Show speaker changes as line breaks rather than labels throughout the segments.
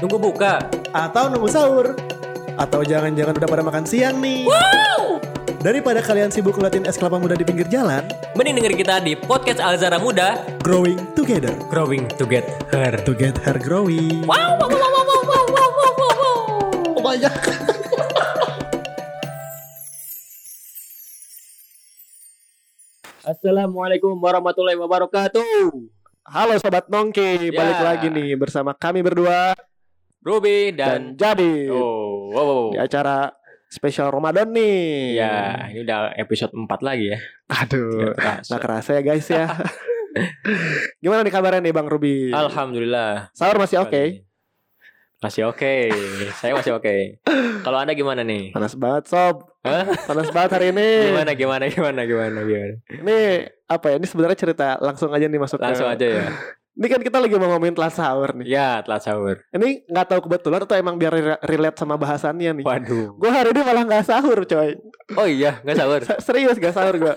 Nunggu buka.
atau nunggu sahur atau jangan-jangan udah pada makan siang nih.
Wow!
Daripada kalian sibuk ngeliatin es kelapa muda di pinggir jalan,
Mending denger kita di podcast Alzara Muda
growing together
Growing to get her.
to get her growing.
Wow, wow, wow, wow, wow, wow, wow, wow, wow.
banyak.
Assalamualaikum warahmatullahi wabarakatuh.
Halo sobat Nongki, balik
Ya.
lagi nih bersama kami berdua
Ruby dan
dan, Jadi
Oh, wow, wow.
di acara spesial Ramadan nih.
Ya, ini udah episode 4
Eh,
lagi ya.
Aduh,
Nggak kerasa.
nggak kerasa ya guys ya. Gimana nih kabarnya nih Bang Ruby?
Alhamdulillah.
Sahur masih oke?
Masih oke. Saya masih oke. Kalau Anda gimana nih?
Panas banget sob.
Hah?
Panas banget hari ini.
Gimana gimana gimana gimana gimana.
Ini apa ya? Ini sebenarnya cerita langsung aja nih masuk. ke-
Langsung aja ya.
Ini kan kita lagi mau ngomongin telat sahur nih.
Ya, telat sahur.
Ini nggak tahu kebetulan atau emang biar re- relate sama bahasannya nih.
Waduh.
Gue hari ini malah nggak sahur coy.
Oh iya, nggak sahur.
Se- Serius gak sahur gue.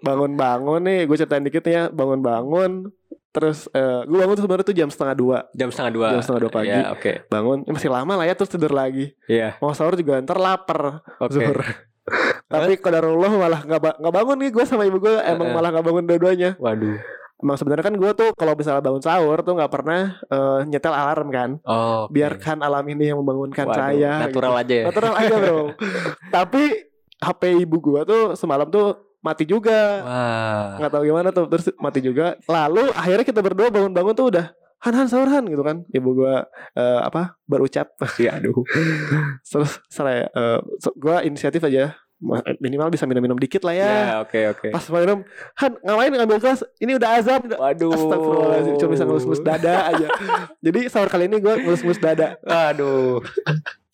Bangun-bangun nih, gue ceritain dikit nih ya. Bangun-bangun. Terus gue bangun tuh sebenarnya tuh jam setengah dua.
Jam setengah dua.
Jam setengah dua pagi.
Ya, oke.
Bangun "Ini masih lama lah ya terus tidur lagi.
Iya,
Mau sahur juga ntar lapar.
oke.
Zuhur. Tapi kodarullah malah nggak ba- nggak bangun nih gue sama ibu gue emang
Eh, eh.
malah nggak bangun dua-duanya.
Waduh.
Emang sebenarnya kan gue tuh kalau misalnya bangun sahur tuh nggak pernah eh, nyetel alarm kan.
Oh. oke.
biarkan alam ini yang membangunkan
Waduh,
saya
Natural aja
gitu.
ya.
natural aja bro tapi HP ibu gua tuh semalam tuh mati juga
Wah.
nggak tahu gimana tuh terus mati juga lalu akhirnya kita berdua bangun-bangun tuh udah Han Han sahur Han gitu kan ibu gua eh, apa berucap
Ya, aduh.
terus saya eh, so- gua inisiatif aja Ma- minimal bisa minum-minum dikit lah ya
Ya, oke oke.
pas mau minum Han ngapain ngambil kelas ini udah azab udah-
Waduh.
Astagfirullahaladzim Cuma bisa ngelus-ngelus dada aja Jadi sahur kali ini gua ngelus-ngelus dada
Aduh.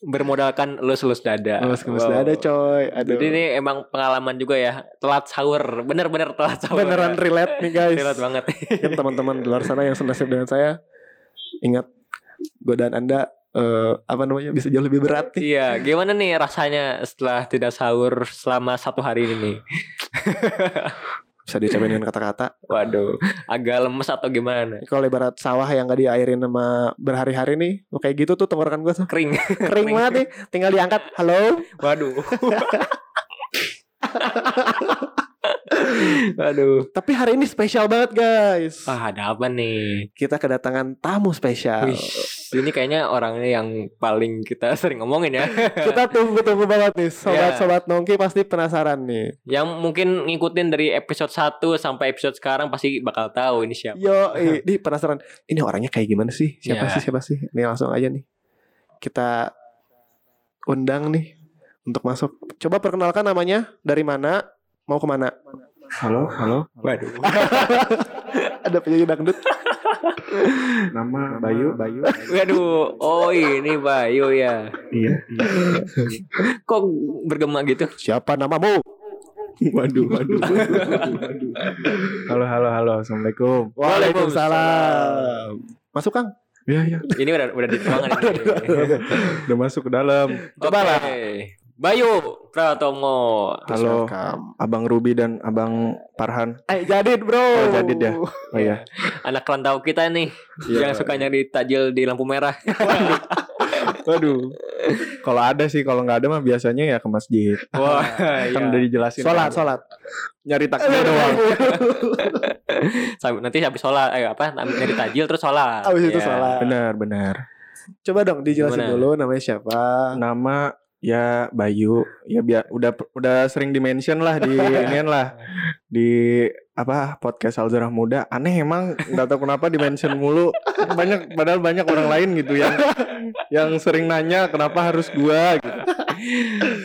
Bermodalkan elus-elus dada.
Ngelus-ngelus
Wow.
dada coy Aduh.
Jadi ini emang pengalaman juga ya. Telat sahur. Bener-bener telat sahur.
beneran Kan
ya.
relate nih guys.
Relate banget.
Mungkin teman-teman di luar sana yang senasib dengan saya ingat godaan Anda eh, apa namanya bisa jauh lebih berat nih.
iya, gimana nih rasanya setelah tidak sahur selama satu hari ini nih?
Bisa dicapai dengan kata-kata.
Waduh, agak lemes atau gimana?
Kalau ibarat sawah yang gak diairin sama berhari-hari nih, mau kayak gitu tuh tenggorokan gue tuh
Kering.
kering banget nih. Tinggal diangkat, halo.
Waduh. Waduh.
Tapi hari ini spesial banget guys.
Ah, ada apa nih?
Kita kedatangan tamu spesial.
Wih, ini kayaknya orangnya yang paling kita sering ngomongin ya.
Kita tunggu-tunggu banget nih.
Ya.
Sobat-sobat nongki pasti penasaran nih.
Yang mungkin ngikutin dari episode 1 sampai episode sekarang pasti bakal tahu ini siapa.
Yo, di penasaran ini orangnya kayak gimana sih? Siapa
Ya.
sih? Siapa sih? Nih langsung aja nih. Kita undang nih untuk masuk. Coba perkenalkan namanya, dari mana, mau kemana?
Halo, halo.
Waduh.
Ada penyanyi dangdut.
Nama Bayu. Bayu.
Waduh. Oh ini Bayu ya.
iya.
Kok bergema gitu?
Siapa namamu?
Waduh, waduh. halo, halo, halo. Assalamualaikum.
Waalaikumsalam. Masuk Kang.
Ya, ya.
Ini udah udah di ruangan ini.
Udah masuk ke dalam.
Coba lah.
Oke. Bayu Pratomo.
Halo,
Welcome.
Abang Ruby dan Abang Parhan.
Eh, Jadid bro.
Oh, Jadid ya. Oh ya.
Anak rantau kita nih yang suka nyari tajil di lampu merah.
Waduh. Kalau ada sih, kalau nggak ada mah biasanya ya ke masjid.
Wah,
Kan udah
iya.
dijelasin.
Sholat, sholat.
Nyari
Eh,
takjil doang.
iya,
Sambil- nanti habis sholat eh apa nyari tajil terus sholat.
Abis itu
Iya.
sholat.
Benar, benar.
Coba dong dijelasin
Gimana?
dulu namanya siapa.
Nama ya Bayu. Ya biar udah udah sering dimention lah di inian lah. di apa podcast Alzarah Muda aneh emang nggak tahu kenapa di mention mulu banyak padahal banyak orang lain gitu yang yang sering nanya kenapa harus gua gitu.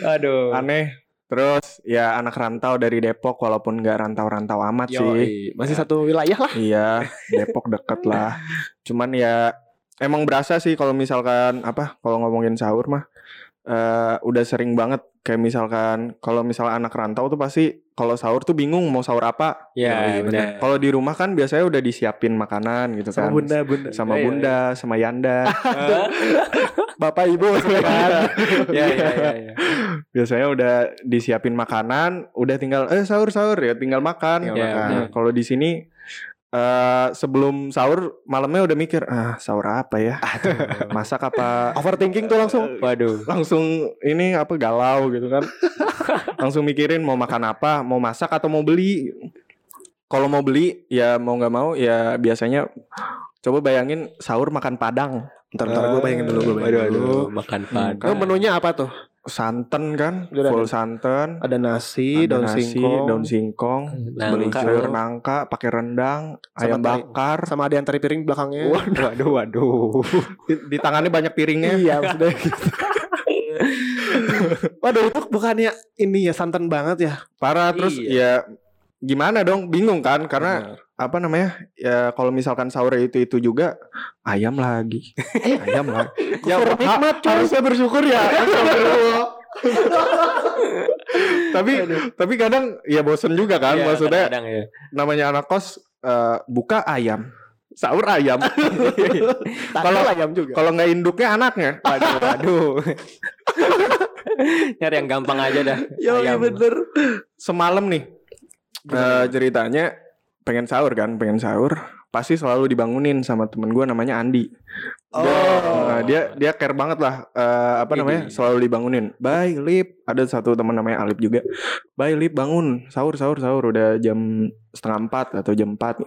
Aduh.
aneh terus ya anak rantau dari Depok walaupun nggak rantau-rantau amat sih
Yoi.
Masih satu wilayah lah.
iya Depok deket lah cuman ya emang berasa sih kalau misalkan apa kalau ngomongin sahur mah eh udah sering banget kayak misalkan kalau misal anak rantau tuh pasti kalau sahur tuh bingung mau sahur apa
Ya,
Iya benar.
benar.
Kalau di rumah kan biasanya udah disiapin makanan gitu
Sama
kan.
bunda, bunda.
Iya,
Sama
iya,
bunda, sama Yanda.
Hah?
Bapak ibu. sebentar.
ya, ya, ya, ya.
biasanya udah disiapin makanan, udah tinggal eh sahur sahur ya tinggal makan.
Tinggal
Nah,
makan.
Kalau di sini eh, sebelum sahur malamnya udah mikir ah sahur apa ya masak apa
Overthinking tuh langsung.
Waduh.
langsung ini apa galau gitu kan langsung mikirin mau makan apa mau masak atau mau beli kalau mau beli ya mau nggak mau ya biasanya coba bayangin sahur makan padang
Ntar ntar gue bayangin dulu gue bayangin
Waduh,
dulu.
aduh, makan
Itu
padang.
Nah, menunya apa tuh?
Hmm, santan kan
Udah ada.
full santan
Ada nasi,
ada
daun
nasi,
singkong,
daun singkong
Nangka.
beli sayur nangka pakai rendang
Sama
ayam
teri.
bakar
sama ada yang teri piring belakangnya.
waduh waduh di, di tangannya banyak piringnya
Iya maksudnya gitu. Waduh itu bukannya ini ya santan banget ya.
parah terus
Iya.
ya gimana dong bingung kan karena apa namanya ya kalau misalkan sahur itu itu juga ayam lagi ayam lagi ya
Syukur
ha-
nikmat, cuy.
harusnya bersyukur ya tapi tapi kadang ya bosen juga kan
Iya,
maksudnya
kadang-kadang ya.
namanya anak kos eh, buka ayam sahur ayam
kalau
Kalau-
ayam juga.
kalau nggak induknya anaknya
Waduh, waduh. Nyari yang gampang aja dah.
iya
Ayam.
bener Semalam nih eh, Ceritanya Pengen sahur kan Pengen sahur Pasti selalu dibangunin sama temen gue namanya Andi
Oh.
dia, eh, dia dia care banget lah eh, apa namanya selalu dibangunin. Bye Lip, ada satu teman namanya Alip juga. Bye Lip bangun sahur sahur sahur udah jam setengah empat atau jam empat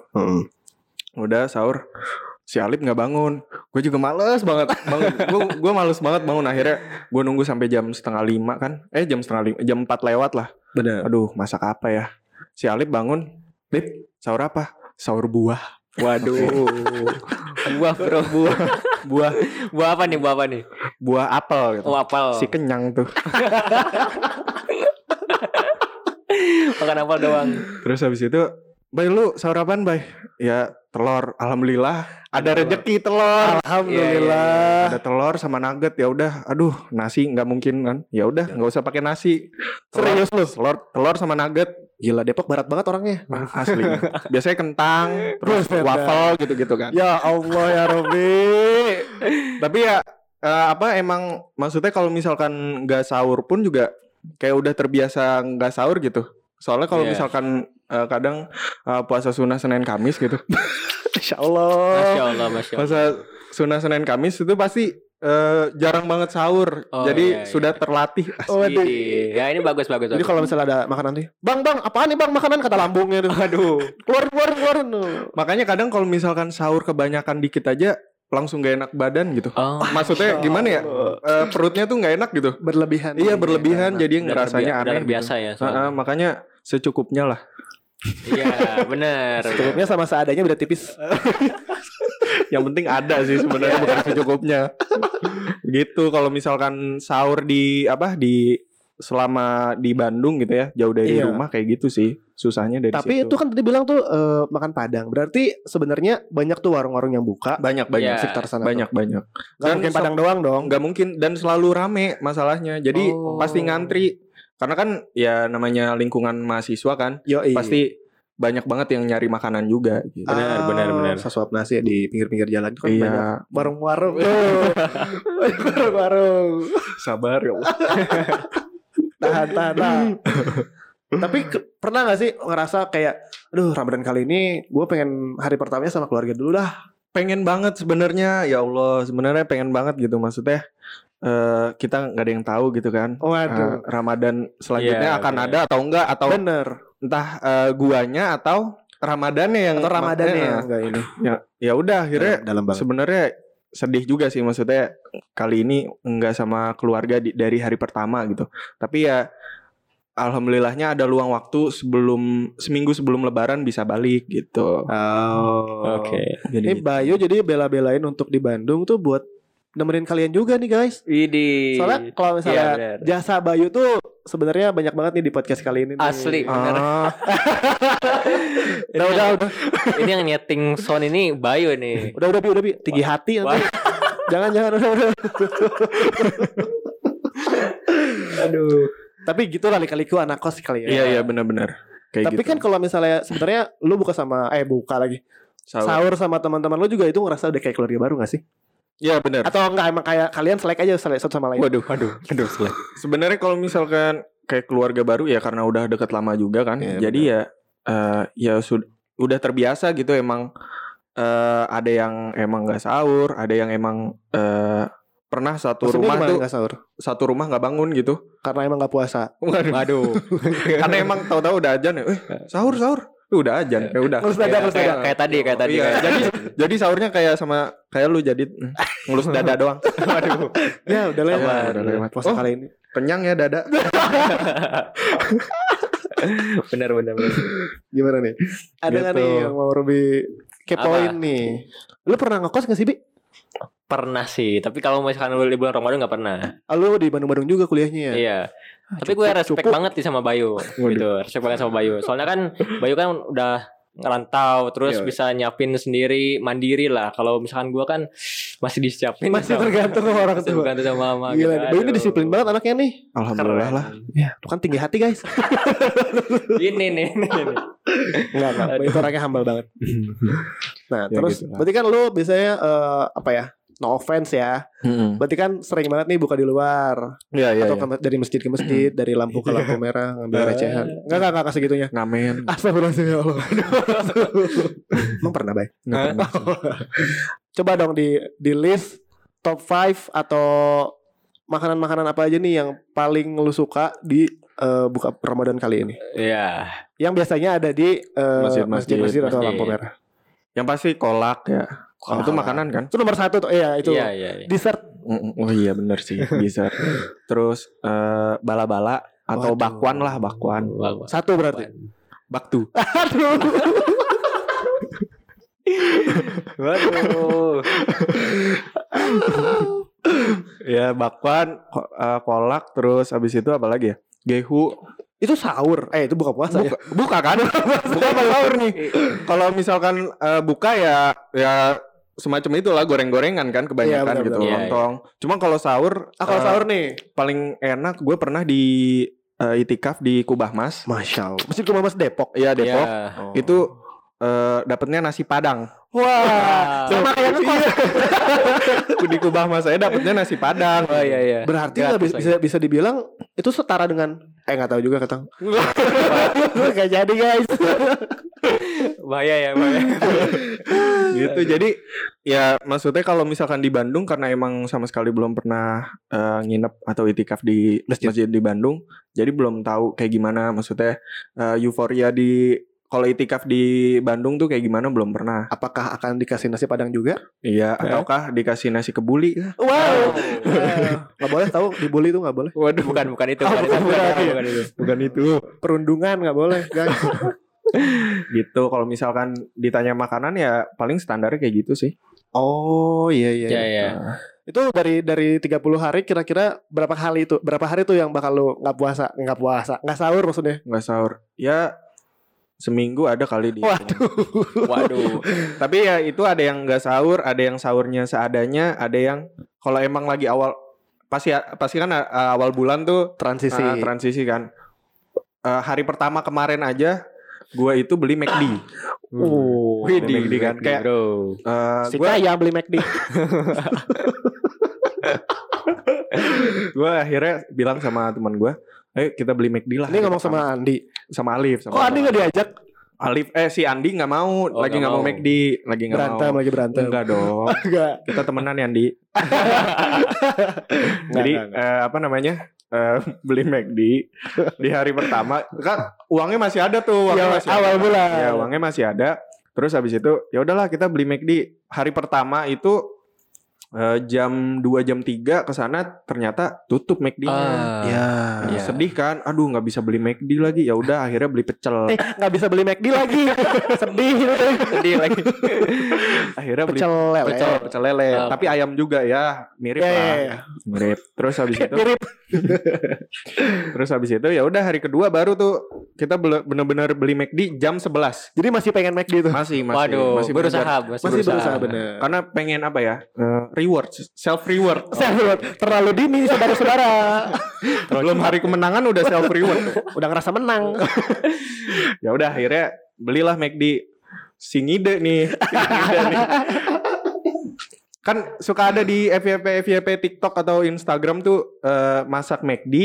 udah sahur si Alip nggak bangun gue juga males banget bangun gue gue males banget bangun akhirnya gue nunggu sampai jam setengah lima kan eh jam setengah lima jam empat lewat lah
Benar.
aduh masak apa ya si Alip bangun Lip sahur apa sahur buah
Waduh. buah bro, buah.
buah
Buah apa nih? Buah apa nih?
buah apel gitu
Oh, apel.
si kenyang tuh
Makan apel doang.
terus habis itu Bay lu sahur apaan bay? Ya telur Alhamdulillah Ada rejeki telur
Alhamdulillah.
Ada telur sama nugget ya udah Aduh nasi nggak mungkin kan Ya udah nggak usah pakai nasi Serius lu telur, telur sama nugget
Gila Depok barat banget orangnya.
Wah, Asli Biasanya kentang Terus
Buset dah.
waffle gitu-gitu kan
Ya Allah ya Robi.
Tapi ya eh, Apa emang Maksudnya kalau misalkan nggak sahur pun juga Kayak udah terbiasa nggak sahur gitu Soalnya kalau
Iya.
misalkan eh, Kadang eh, puasa sunnah Senin Kamis gitu
Iya.
Insya Allah.
Masya Allah, masya Allah.
Masa sunnah Senin Kamis itu pasti eh, jarang banget sahur.
Oh,
Jadi
iya, iya.
sudah terlatih.
Waduh.
Ih, Ya ini bagus bagus.
Jadi
bagus.
kalau misalnya ada makanan nih, bang bang, apaan nih bang makanan kata lambungnya tuh. Aduh, keluar keluar keluar.
Makanya kadang kalau misalkan sahur kebanyakan dikit aja langsung gak enak badan gitu.
Oh,
Maksudnya gimana ya? Eh, perutnya tuh nggak enak gitu.
Berlebihan.
Iya berlebihan jadi
udah
ngerasanya
terbi- udah
aneh.
terbiasa ya.
Gitu. Heeh,
soalnya.
makanya secukupnya lah.
Iya, benar.
Tutupnya sama seadanya udah tipis.
Yang penting ada sih sebenarnya bukan secukupnya. gitu kalau misalkan sahur di apa di selama di Bandung gitu ya jauh dari
Iya.
rumah kayak gitu sih susahnya dari
Tapi
situ.
itu kan tadi bilang tuh eh, makan padang. Berarti sebenarnya banyak tuh warung-warung yang buka
banyak
Iya.
banyak
sekitar sana.
banyak banyak
Tuh. Gak
Dan
mungkin
se-
padang doang dong.
nggak mungkin dan selalu rame masalahnya jadi
Oh.
pasti ngantri karena kan ya namanya lingkungan mahasiswa kan
Yo
pasti banyak banget yang nyari makanan juga gitu.
Benar,
Ah,
benar, benar.
Sesuap nasi di pinggir-pinggir jalan itu kan banyak
iya
warung-warung. tuh. Banyak warung-warung.
sabar ya Allah.
Tahan, tahan, tahan. Tapi ke- pernah gak sih ngerasa kayak Aduh Ramadan kali ini gue pengen hari pertamanya sama keluarga dulu lah
pengen banget sebenarnya ya Allah sebenarnya pengen banget gitu maksudnya eh, kita nggak ada yang tahu gitu kan Eh,
Waduh
Ramadan selanjutnya
Iya,
akan
bener.
ada atau enggak atau
Bener
entah eh, guanya atau Ramadannya yang
Atau Ramadannya
Eh,
yang enggak ini
ya udah akhirnya
Dalam Iya, banget
Sebenarnya sedih juga sih maksudnya kali ini nggak sama keluarga di- dari hari pertama gitu. Tapi ya alhamdulillahnya ada luang waktu sebelum seminggu sebelum lebaran bisa balik gitu.
Oh
Oke.
Jadi gitu.
Ini Bayu jadi bela-belain untuk di Bandung tuh buat nemenin kalian juga nih guys.
Idi.
Soalnya
Iya,
kalau misalnya
benar.
jasa Bayu tuh sebenarnya banyak banget nih di podcast kali ini. nih. kan
Asli. bener.
Ah,
Udah udah udah
Ini yang nyeting sound ini Bayu nih.
udah udah Bi, udah Bi. tinggi hati nanti. jangan jangan udah udah. Aduh. Tapi gitu lah liku anak kos kali ya.
iya iya benar-benar. Kayak
Tapi
gitu.
kan kalau misalnya sebenarnya lu buka sama eh buka lagi
Sahur.
sahur sama teman-teman lu juga itu ngerasa udah kayak keluarga baru gak sih?
Iya benar.
Atau enggak emang kayak kalian selek aja selek satu sama lain?
Waduh, waduh, waduh. Sebenarnya kalau misalkan kayak keluarga baru ya karena udah deket lama juga kan.
Iya,
jadi ya eh, ya sud- udah terbiasa gitu emang eh, ada yang emang nggak sahur, ada yang emang eh, pernah satu
Maksudnya
rumah
gimana
tuh
nggak sahur?
satu rumah nggak bangun gitu.
Karena emang nggak puasa.
Waduh.
Waduh.
Karena emang tahu-tahu udah ajan ya. Eh, sahur sahur. Eh, udah ajan. Ya udah.
Harus dada, harus
kayak,
dada.
kayak tadi, kayak tadi.
Iya,
kayak-
jadi jadi sahurnya kayak sama kayak lu jadi mm, ngulus dada doang. Waduh.
Ya udah lewat.
Iya, udah lewat.
Puasa
Oh.
kali ini.
Kenyang ya dada.
bener bener. bener.
Gimana nih? Ada nggak
Gitu.
nih yang mau Ruby kepoin nih? Lu pernah ngekos nggak sih Bi?
Pernah sih, tapi kalau misalkan di bulan Ramadan nggak pernah.
Ah, Lu di Bandung-Bandung juga kuliahnya ya?
Iya. Tapi gue
cukup,
respect
cukup.
banget nih sama Bayu gitu. Respect banget sama Bayu. Soalnya kan Bayu kan udah ngerantau terus
Iya.
bisa nyiapin sendiri mandiri lah. Kalau misalkan gue kan masih disiapin
Masih
sama-
tergantung sama orang
Iya. masih
tua.
tergantung sama mama. gitu.
Gila, nih. Bayu ini
Aduh.
disiplin banget anaknya nih.
Alhamdulillah lah.
Ya, tuh kan tinggi hati guys.
Ini nih. ini, ini.
Enggak, enggak. Bayu itu orangnya humble banget. Nah,
Ya,
terus
gitu lah.
berarti kan lu biasanya eh, apa ya? No offense ya.
Mm-mm.
Berarti kan sering banget nih buka di luar
Iya iya.
atau
iya.
ke- dari masjid ke masjid, dari lampu ke lampu merah ngambil recehan. Enggak enggak enggak segitunya.
Ngamen.
Astagfirullahaladzim ya Allah. Emang pernah Bay?
Nggak pernah.
Coba dong di di list top 5 atau makanan-makanan apa aja nih yang paling lu suka di eh, buka Ramadan kali ini?
Iya.
Yang biasanya ada di eh,
Masjid-masjid,
masjid-masjid atau
masjid.
lampu merah.
Yang pasti kolak ya.
Kolak.
Itu makanan kan?
Itu nomor satu tuh, iya itu.
Iya, iya, iya.
Dessert
Mm-mm. Oh iya benar sih bisa. Terus eh, bala-bala
Waduh.
atau bakwan lah bakwan.
Bagus.
satu berarti.
Baktu.
Aduh.
Waduh.
ya bakwan, ko- eh, kolak terus habis itu apa lagi ya? Gehu.
itu sahur. Eh itu buka puasa ya.
Buka, buka kan? buka apa sahur nih? Kalau misalkan eh, buka ya ya semacam itulah goreng-gorengan kan
Iya,
kebanyakan
benar,
gitu
benar.
Iya,
lontong. Cuma kalau sahur
Ah kalau
eh,
sahur nih.
paling enak gue pernah di eh, itikaf di Kubah Mas.
Masya Allah. Masjid rumah Mas Depok.
Iya Depok.
Iya.
Oh.
Itu eh, dapatnya nasi Padang. Iya.
Wah.
Wah.
Sama kayak ngekos.
di kubah mas saya dapetnya nasi padang
Oh iya iya. Gratis
Berarti nggak bisa, bisa bisa dibilang itu setara dengan eh nggak tahu juga katang. Gak jadi guys.
Bahaya ya, bahaya.
gitu jadi ya maksudnya kalau misalkan di Bandung karena emang sama sekali belum pernah eh, nginep atau itikaf di masjid. di Bandung jadi belum tahu kayak gimana maksudnya eh, euforia di kalau itikaf di Bandung tuh kayak gimana belum pernah
Apakah akan dikasih nasi padang juga?
iya ataukah dikasih nasi kebuli
Wow. Gak boleh tahu dibully itu nggak boleh.
Waduh, bukan bukan itu.
Oh, bukan, bukan,
bukan,
iya.
bukan itu.
bukan itu
Perundungan nggak boleh guys.
gitu kalau misalkan ditanya makanan ya paling standarnya kayak gitu sih
Oh iya iya.
Iya iya.
Itu dari dari 30 hari kira-kira berapa kali itu? Berapa hari tuh yang bakal lu nggak puasa? Nggak puasa. Nggak sahur maksudnya.
nggak sahur ya seminggu ada kali di
Waduh.
Oh, tapi ya itu ada yang nggak sahur ada yang sahurnya seadanya ada yang kalau emang lagi awal pasti pasti kan uh, awal bulan tuh
Transisi.
uh, transisi kan Uh, hari pertama kemarin aja gua itu beli McD
Oh.
Wih, di- di kan, kayak-
bro.
Uh,
Si
gua
kaya beli McD.
gua akhirnya bilang sama teman gua ayo kita beli McD lah
Ini
hari
ngomong
pertama."
sama Andi.
sama Alif sama
Kok Andi nggak diajak?
Alif eh si Andi nggak mau
Oh,
lagi
nggak
nggak mau
mau.
McD lagi nggak
Berantem
mau
lagi berantem.
enggak dong
Enggak.
kita temenan ya Andi Jadi
Nggak, nggak,
eh, apa namanya eh, beli McD di hari pertama kan uangnya masih ada tuh uangnya
Ya,
masih
awal
ada.
bulan.
ya uangnya masih ada terus habis itu ya udahlah kita beli McD hari pertama itu eh, jam 2 jam 3 ke sana ternyata tutup McD-nya
Ya.
Nah,
iya.
sedih kan aduh nggak bisa beli McD lagi ya udah akhirnya beli pecel
Eh, nggak bisa beli McD lagi. Sedih.
sedih lagi.
akhirnya beli
Pecel lele.
pecel pecel lele
Ah.
tapi ayam juga ya mirip
Ya, ya,
lah
ya.
mirip terus habis itu
Mirip.
Terus habis itu ya udah hari kedua baru tuh kita bele- bener-bener beli McD jam 11.
Jadi masih pengen McD itu.
Masih masih
Waduh,
masih
berusaha,
belajar.
masih,
Masih
berusaha.
berusaha bener.
Karena pengen apa ya? eh, reward, self reward.
Saya belum- terlalu dini saudara-saudara.
Belum hari kemenangan udah self reward.
Udah ngerasa menang.
ya udah akhirnya belilah McD singide nih. Singide nih. Kan suka ada di FYP FYP TikTok atau Instagram tuh eh, masak McD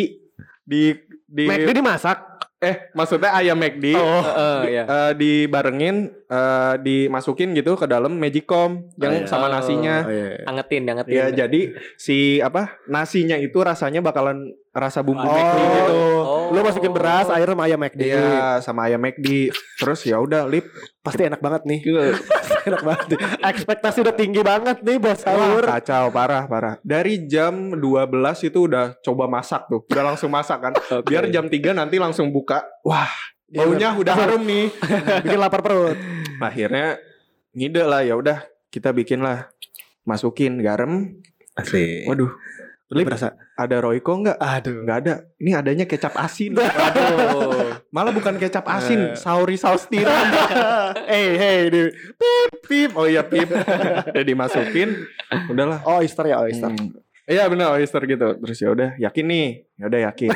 di di
McD dimasak.
eh maksudnya ayam McD
Oh, iya.
eh, dibarengin eh, dimasukin gitu ke dalam Magicom
iya.
yang sama nasinya.
Oh, iya.
Angetin, angetin.
Ya jadi si apa nasinya itu rasanya bakalan rasa bumbu
Oh.
McD gitu.
Oh.
Lu masukin beras, air sama ayam McD.
Iya sama ayam McD. Terus ya udah lip.
Pasti enak banget nih. enak banget. nih. Ekspektasi udah tinggi banget nih bos
Wah,
sahur.
kacau parah parah. Dari jam 12 itu udah coba masak tuh. Udah langsung masak kan.
Oke.
Biar jam 3 nanti langsung buka. Wah,
Iya,
baunya udah harum nih.
Bikin lapar perut.
Akhirnya ngide lah ya udah kita bikin lah. Masukin garam.
Iya.
Asik.
Waduh,
Lu berasa.
ada Royco nggak?
Aduh.
Nggak ada. Ini adanya kecap asin.
Aduh.
Malah bukan kecap
Eh.
asin, sauri saus tiram.
hey, hey, di.
Pip. Oh iya pip. Udah dimasukin. Udahlah.
Oyster ya oyster.
Hmm. Iya benar oyster gitu. Terus ya udah yakin nih. Ya udah yakin.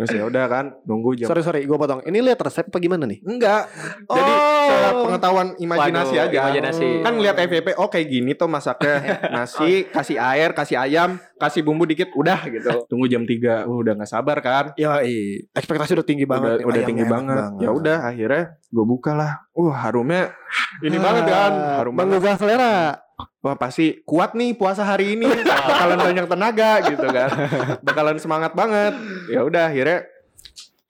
Terus ya udah kan nunggu jam.
Sorry sorry, gue potong. Ini lihat resep apa gimana nih?
Enggak. Oh. Jadi secara pengetahuan imajinasi
Waduh,
aja.
imajinasi.
Kan ngeliat FVP, oh kayak gini tuh masaknya. Nasi, kasih air, kasih ayam, kasih bumbu dikit, udah gitu. Tunggu jam 3. Uh, udah nggak sabar kan.
Ya, ekspektasi udah tinggi
udah,
banget. nih.
udah
Ayamnya
tinggi
enak
banget. Ya udah akhirnya gue buka lah. Uh harumnya ini
Ah,
banget kan. Harum banget.
Menggugah selera.
Wah pasti kuat nih puasa hari ini. Bakalan banyak tenaga gitu kan. Bakalan semangat banget. Ya udah akhirnya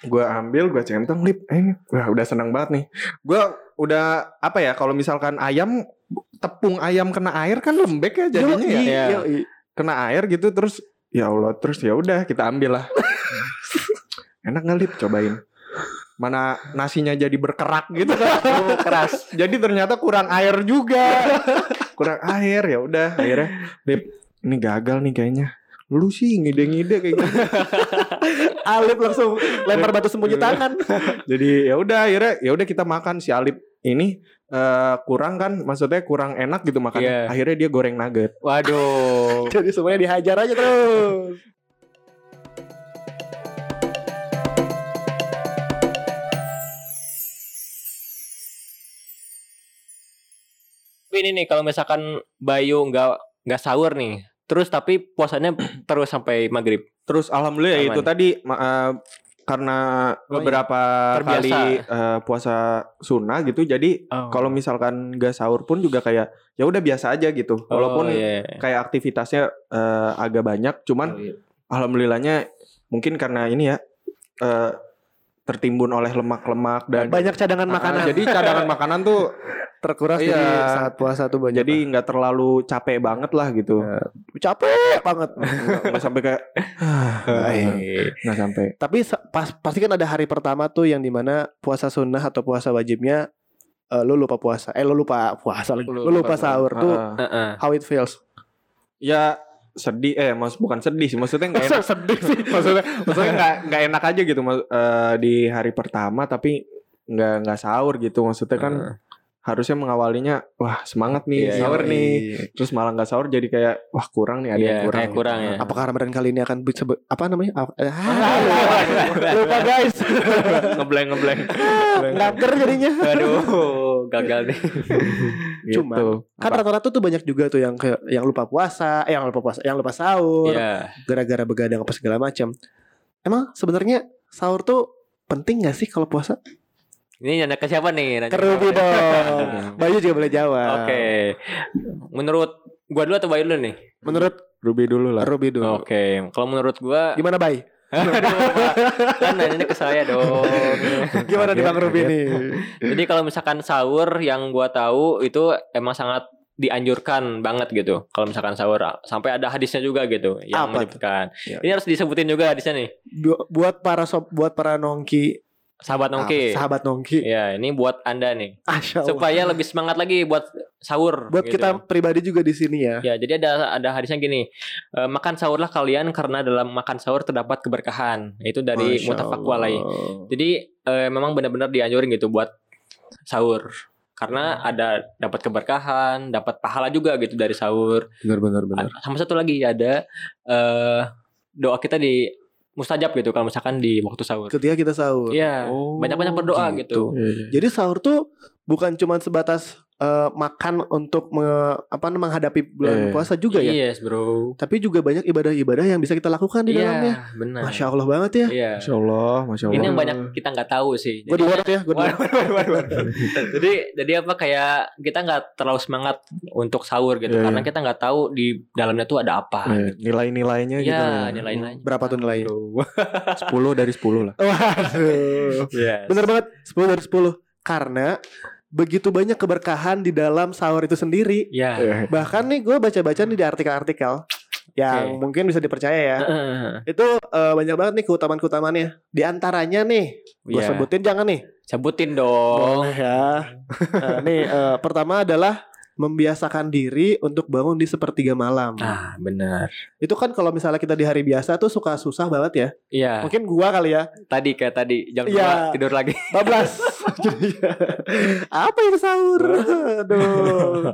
gue ambil gue centang lip. Eh, wah udah seneng banget nih. Gue udah apa ya kalau misalkan ayam tepung ayam kena air kan lembek ya jadinya ya.
Yoi,
ya.
yoi.
Kena air gitu terus ya Allah terus ya udah kita ambil lah. Enak nggak lip cobain. Mana nasinya jadi berkerak gitu kan. keras. Jadi ternyata kurang air juga. kurang air ya udah akhirnya lip ini gagal nih kayaknya. Lu sih ngide-ngide kayak gitu.
Alip langsung lempar batu sembunyi tangan.
Jadi ya udah akhirnya ya udah kita makan si Alip ini eh, kurang kan maksudnya kurang enak gitu
Iya.
makannya. Akhirnya dia goreng nugget.
Waduh.
Jadi semuanya dihajar aja terus.
Tapi ini nih kalau misalkan Bayu nggak nggak sahur nih, terus tapi puasanya terus sampai maghrib.
Terus alhamdulillah ya
Aman.
itu tadi ma- eh, karena beberapa
Terbiasa. Oh.
kali eh, puasa sunnah gitu jadi kalau misalkan gak sahur pun juga kayak ya udah biasa aja gitu
Oh,
walaupun
iya.
kayak aktivitasnya eh, agak banyak
Oh,
cuman
iya.
alhamdulillahnya mungkin karena ini ya eh, tertimbun oleh lemak-lemak dan
Banyak cadangan
Ah,
makanan.
jadi cadangan makanan tuh
terkuras
Iya.
jadi saat puasa tuh banyak.
jadi nggak terlalu capek banget lah gitu
capek banget.
nggak nggak sampai kayak
Nah, iya.
Iya. nggak sampai
Tapi se- pas, pasti kan ada hari pertama tuh yang dimana puasa sunnah atau puasa wajibnya eh, lu lupa puasa. Eh lu lupa puasa lagi. Lu,
Lu
lupa
lupa
sahur tuh
Ah, ah.
Heeh.
how it feels.
ya sedih eh maksud bukan sedih sih maksudnya nggak enak
Sedih sih.
maksudnya maksudnya nggak nggak enak aja gitu mas- eh, di hari pertama tapi nggak nggak sahur gitu maksudnya kan harusnya mengawalinya wah semangat nih
Iya,
sahur
iya.
nih terus malah nggak sahur jadi kayak wah kurang nih ada
Iya,
yang kurang
kayak kurang ya.
Apakah Ramadan kali ini akan bisa be- apa namanya? Apa- Ah, lupa guys.
ngebleng ngebleng
Lapar jadinya.
Aduh, gagal nih.
gitu.
Cuman, Kan rata-rata tuh banyak juga tuh yang kayak- yang lupa puasa, eh, yang lupa puasa, yang lupa sahur,
Iya.
gara-gara begadang apa segala macam. Emang sebenarnya sahur tuh penting gak sih kalau puasa?
Ini nanya ke siapa nih? Nanya ke
Kerubi
siapa?
dong. Bayu juga boleh jawab.
Oke. Menurut gua dulu atau Bayu dulu nih?
Menurut
Ruby dulu lah
Ruby dulu.
Oke. Kalau menurut gua
Gimana Bay?
Aduh, Pak. kan nanya ke saya dong.
Gimana nih Bang
Kaget,
Ruby
kaget.
nih?
Jadi kalau misalkan sahur yang gua tahu itu emang sangat dianjurkan banget gitu. Kalau misalkan sahur sampai ada hadisnya juga gitu yang
Apa tuh? Iya.
menyebutkan.
Ya.
Ini harus disebutin juga hadisnya nih.
Bu- Buat para sob, buat para nongki,
Sahabat
ah,
Nongki.
sahabat nongki.
Ya, ini buat Anda nih.
Asya Allah.
Supaya lebih semangat lagi buat sahur
Buat
gitu.
kita pribadi juga di sini ya.
Ya, jadi ada ada hadisnya gini. e, makan sahurlah kalian karena dalam makan sahur terdapat keberkahan. Itu dari
Masya
mutafak
Allah.
walai. Jadi e, memang benar-benar dianjurin gitu buat sahur.
Hmm.
Karena ada dapat keberkahan, dapat pahala juga gitu dari sahur.
Benar benar benar.
A- Sama satu lagi ada eh doa kita di mustajab gitu kalau misalkan di waktu sahur.
Ketika kita sahur.
Iya,
Oh,
banyak-banyak berdoa gitu.
Iya, iya.
Jadi sahur tuh bukan cuma sebatas eh, makan untuk me- apa menghadapi bulan
Eh,
puasa juga ya.
gitu. Yes, bro.
Tapi juga banyak ibadah-ibadah yang bisa kita lakukan di dalamnya.
Iya, benar.
Masya Allah banget ya.
Iya.
Masya Allah, Masya
Ini
Allah.
yang banyak kita nggak tahu sih.
Gue
Jadi-
dua ya, gue
Iya. Waduh, waduh, waduh, waduh. jadi jadi apa kayak kita nggak terlalu semangat untuk sahur gitu
Iya,
karena
iya.
kita nggak tahu di dalamnya tuh ada apa.
Eh, nilai-nilainya
Iya,
gitu.
nilai-nilainya.
Berapa tuh nilainya?
Iya.
Aduh.
10 dari 10 lah.
Waduh.
Yes.
Bener banget 10 dari 10 Karena Begitu banyak keberkahan di dalam sahur itu sendiri
Ya.
Eh,
Bahkan nih gue baca-baca nih di artikel-artikel Yang
Oke.
mungkin bisa dipercaya ya
Heeh.
Itu eh, banyak banget nih keutamaan-keutamaannya Di antaranya nih Gue
Iya.
sebutin jangan nih
Sebutin dong.
Boleh ya Nah, Nih eh, pertama adalah Membiasakan diri untuk bangun di sepertiga malam
Ah, benar.
Itu kan kalau misalnya kita di hari biasa tuh suka susah banget ya
Iya.
Mungkin gua kali ya
Tadi kayak tadi jam 2
Iya.
tidur lagi.
bablas Jadi, apa yang sahur aduh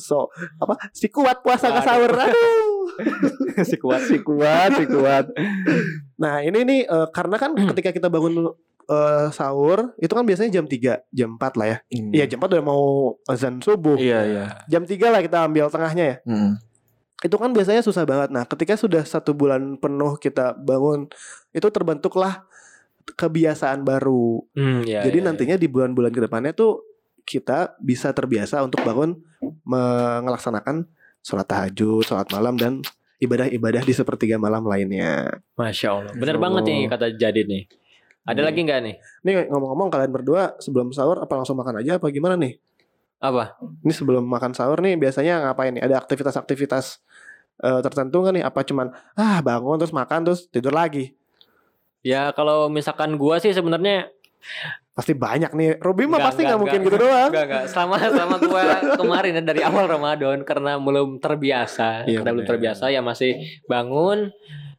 so apa si kuat puasa nggak sahur aduh
si kuat
si kuat, si kuat.
nah ini nih eh, karena kan ketika kita bangun eh, sahur itu kan biasanya jam 3 jam 4 lah ya iya jam 4 udah mau azan subuh
Hmm. Iya, iya.
jam 3 lah kita ambil tengahnya ya
Mm.
itu kan biasanya susah banget nah ketika sudah satu bulan penuh kita bangun itu terbentuklah kebiasaan baru
Hmm, iya,
Jadi
iya,
nantinya di bulan-bulan kedepannya tuh kita bisa terbiasa untuk bangun melaksanakan sholat tahajud, sholat malam dan ibadah-ibadah di sepertiga malam lainnya.
iya. Masya Allah. Bener
Masya
banget
Allah. Iya.
nih kata jadi nih. Ada
Nih.
lagi nggak nih?
Nih ngomong-ngomong kalian berdua sebelum sahur apa langsung makan aja apa gimana nih?
Apa?
Ini sebelum makan sahur nih biasanya ngapain nih? Ada aktivitas-aktivitas eh, tertentu nggak nih? Apa cuman ah bangun terus makan terus tidur lagi?
Ya kalau misalkan gua sih sebenarnya
Pasti banyak nih. Ruby mah
Nggak,
pasti nggak
nggak,
mungkin
nggak.
gitu doang.
Enggak enggak selama selama gua kemarin ya, dari awal Ramadan karena belum terbiasa,
Iya,
karena belum
bener.
terbiasa ya masih bangun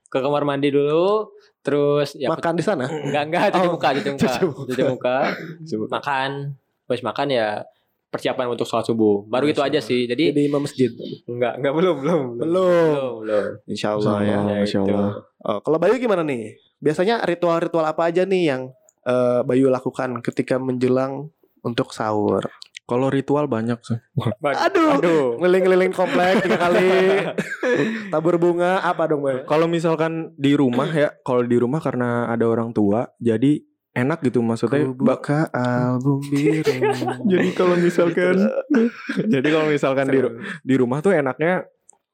ke kamar mandi dulu terus ya
Makan di sana.
enggak enggak cuci
Oh,
muka cuci muka
cuci muka.
cuci muka makan habis makan ya persiapan untuk sholat subuh baru itu aja sih jadi,
Jadi imam masjid.
enggak enggak belum belum
Belum.
belum belum
Insya
Masya
Allah ya.
Allah, Masya
gitu.
Allah.
Oh, kalau Bayu gimana nih? Biasanya ritual-ritual apa aja nih yang eh, Bayu lakukan ketika menjelang untuk sahur?
Kalau ritual banyak sih.
Aduh,
aduh
ngeliling-ngeliling komplek tiga kali, tabur bunga apa dong Bayu?
Kalau misalkan di rumah ya, kalau di rumah karena ada orang tua, jadi enak gitu maksudnya. bak-
Buka album biru.
jadi kalau
Gitu.
misalkan, jadi kalau misalkan di, ru-
Seru.
di rumah tuh enaknya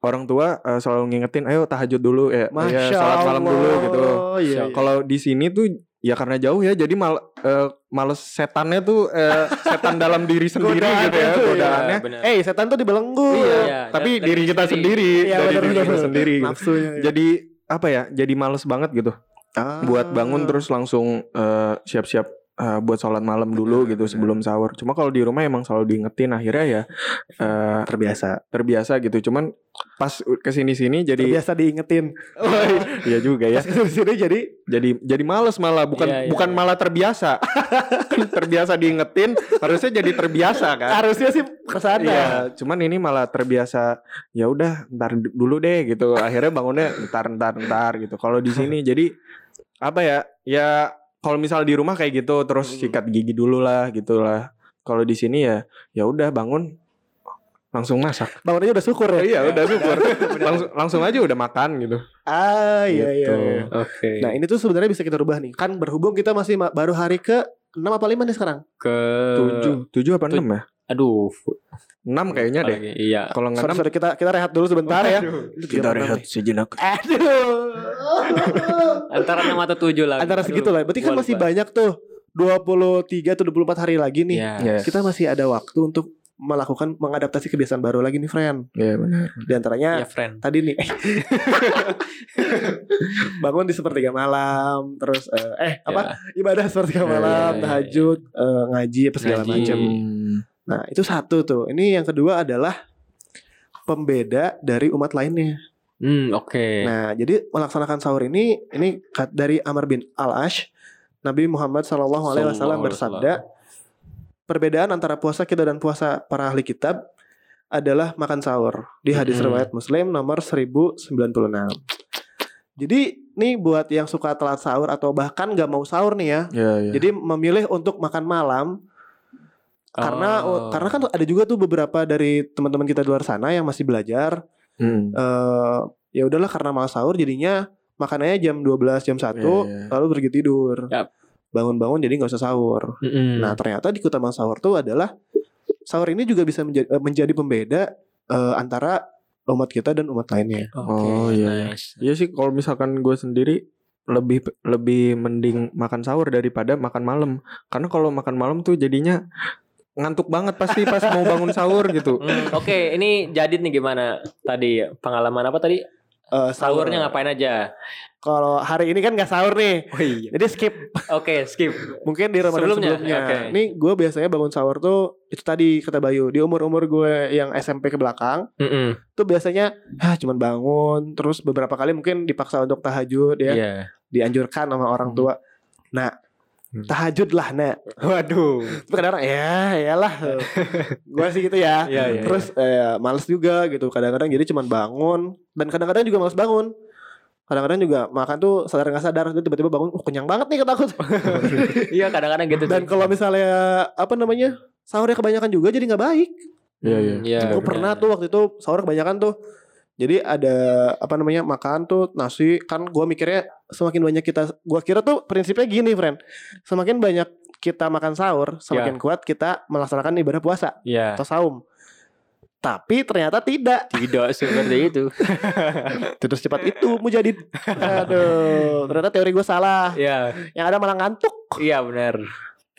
orang tua eh, selalu ngingetin, ayo tahajud dulu ya, ya,
Masya
salat malam dulu gitu.
Allah, iya, iya.
Kalau di sini tuh ya karena jauh ya, jadi mal, eh, males setannya tuh eh, setan dalam diri sendiri
Godaan
gitu ya,
itu, iya.
godaannya.
benar
Eh setan tuh dibelenggu.
Iya,
Iya,
tapi
dari-
diri
dari
kita
sendiri.
sendiri,
Iya,
dari
benar,
diri
benar,
kita
benar.
sendiri. gitu.
Nafsunya. iya.
Jadi apa ya? Jadi males banget gitu.
Ah.
buat bangun terus langsung eh, siap-siap eh, buat sholat malam dulu gitu sebelum sahur. Cuma kalau di rumah emang selalu diingetin akhirnya ya eh,
terbiasa.
terbiasa gitu. Cuman pas kesini-sini jadi
Terbiasa diingetin.
ya juga ya.
Pas kesini sini jadi
Jadi jadi males malah bukan
Iya, iya,
bukan
iya.
malah terbiasa. terbiasa diingetin harusnya jadi terbiasa kan.
harusnya sih kesana.
Iya, cuman ini malah terbiasa ya udah ntar d- dulu deh gitu. Akhirnya bangunnya ntar ntar ntar gitu. Kalau di sini jadi apa ya? Ya kalau misal di rumah kayak gitu
Hmm.
terus sikat gigi dulu lah gitu lah. Kalau di sini ya ya udah bangun langsung masak.
Bangun aja udah syukur ya.
Iya, udah syukur. langsung langsung aja udah makan gitu.
Ah iya iya.
Gitu.
iya.
oke
Nah ini tuh sebenarnya bisa kita rubah nih Kan berhubung kita masih ma- baru hari ke 6 apa 5 nih sekarang
ke
Eh,
Tujuh, tujuh apa
tuj-
enam ya?
aduh
Enam kayaknya deh.
apalagi, iya
Kalau nggak
Sorry
enam
sorry kita, kita rehat dulu sebentar ya
kita rehat sejenak.
Eh. Aduh
antara 6 atau 7 lah
Antara segitu lah Berarti kan
gua
masih
lupa.
banyak tuh 23 atau 24 hari lagi nih
Iya.
Iya,
Kita masih ada waktu untuk melakukan mengadaptasi kebiasaan baru lagi nih friend
iya benar.
Di antaranya
ya friend
tadi nih bangun di sepertiga malam terus eh, eh apa
Ya.
ibadah sepertiga
Iya, iya,
malam
iya, iya.
tahajud eh, ngaji apa segala
Ngaji.
macam
Hmm.
Nah itu satu tuh. Ini yang kedua adalah pembeda dari umat lainnya.
hmm oke
Nah jadi melaksanakan sahur ini ini kat- dari Amr bin Al Ash Nabi Muhammad Shallallahu Alaihi
Sallallahu
Wasallam
alaihi
bersabda perbedaan antara puasa kita dan puasa para ahli kitab adalah makan sahur di hadis
Mm-mm.
riwayat Muslim nomor 1096. Jadi nih buat yang suka telat sahur atau bahkan gak mau sahur nih ya,
Iya, iya.
jadi memilih untuk makan malam Karena
Oh.
karena kan ada juga tuh beberapa dari teman-teman kita di luar sana yang masih belajar
Hmm.
eh ya udahlah karena malas sahur jadinya makanannya jam 12 jam 1
iya.
lalu pergi tidur.
Ya, Yap.
Bangun-bangun jadi nggak usah sahur.
Hmm.
Nah, ternyata di Kota Bang Sahur tuh adalah sahur ini juga bisa menjadi, menjadi pembeda eh, antara umat kita dan umat lainnya.
Oh, iya, iya.
nice.
Iya sih kalau misalkan gue sendiri lebih lebih mending makan sahur daripada makan malam. Karena kalau makan malam tuh jadinya ngantuk banget pasti pas mau bangun sahur gitu.
Hmm, Oke, ini Jadid nih gimana tadi pengalaman apa tadi?
Eh,
Sahurnya ngapain aja?
Kalau hari ini kan nggak sahur nih.
Oh iya.
Jadi skip
Oke, skip.
mungkin di Ramadan
Sebelumnya,
sebelumnya.
oke.
Ini gue biasanya bangun sahur tuh itu tadi kata Bayu di umur-umur gue yang SMP ke belakang
Mm-mm.
tuh biasanya ah cuman bangun terus beberapa kali mungkin dipaksa untuk tahajud ya
Iya.
dianjurkan sama orang
Hmm.
tua. Nah
Hmm.
tahajud lah nah, nak.
Waduh.
Tapi kadang ya iyalah gue sih gitu ya.
Iya, iya.
Terus eh, males juga gitu Kadang-kadang jadi cuman bangun Dan kadang-kadang juga males bangun Kadang-kadang juga makan tuh sadar nggak sadar Jadi tiba-tiba bangun Oh kenyang banget nih ketakut
Iya, kadang-kadang gitu.
Dan kalau misalnya Apa namanya Sahurnya kebanyakan juga jadi nggak baik
Iya, iya.
Ya,
Gue pernah tuh waktu itu Sahur kebanyakan tuh jadi ada apa namanya makan tuh nasi kan gua mikirnya semakin banyak kita gua kira tuh prinsipnya gini friend semakin banyak kita makan sahur
Ya.
semakin kuat kita melaksanakan ibadah puasa
Iya.
atau saum tapi ternyata tidak
Tidak seperti itu.
Tidur secepat itu mau jadi Aduh Ternyata teori gue salah
Iya.
Yang ada malah ngantuk
Iya benar.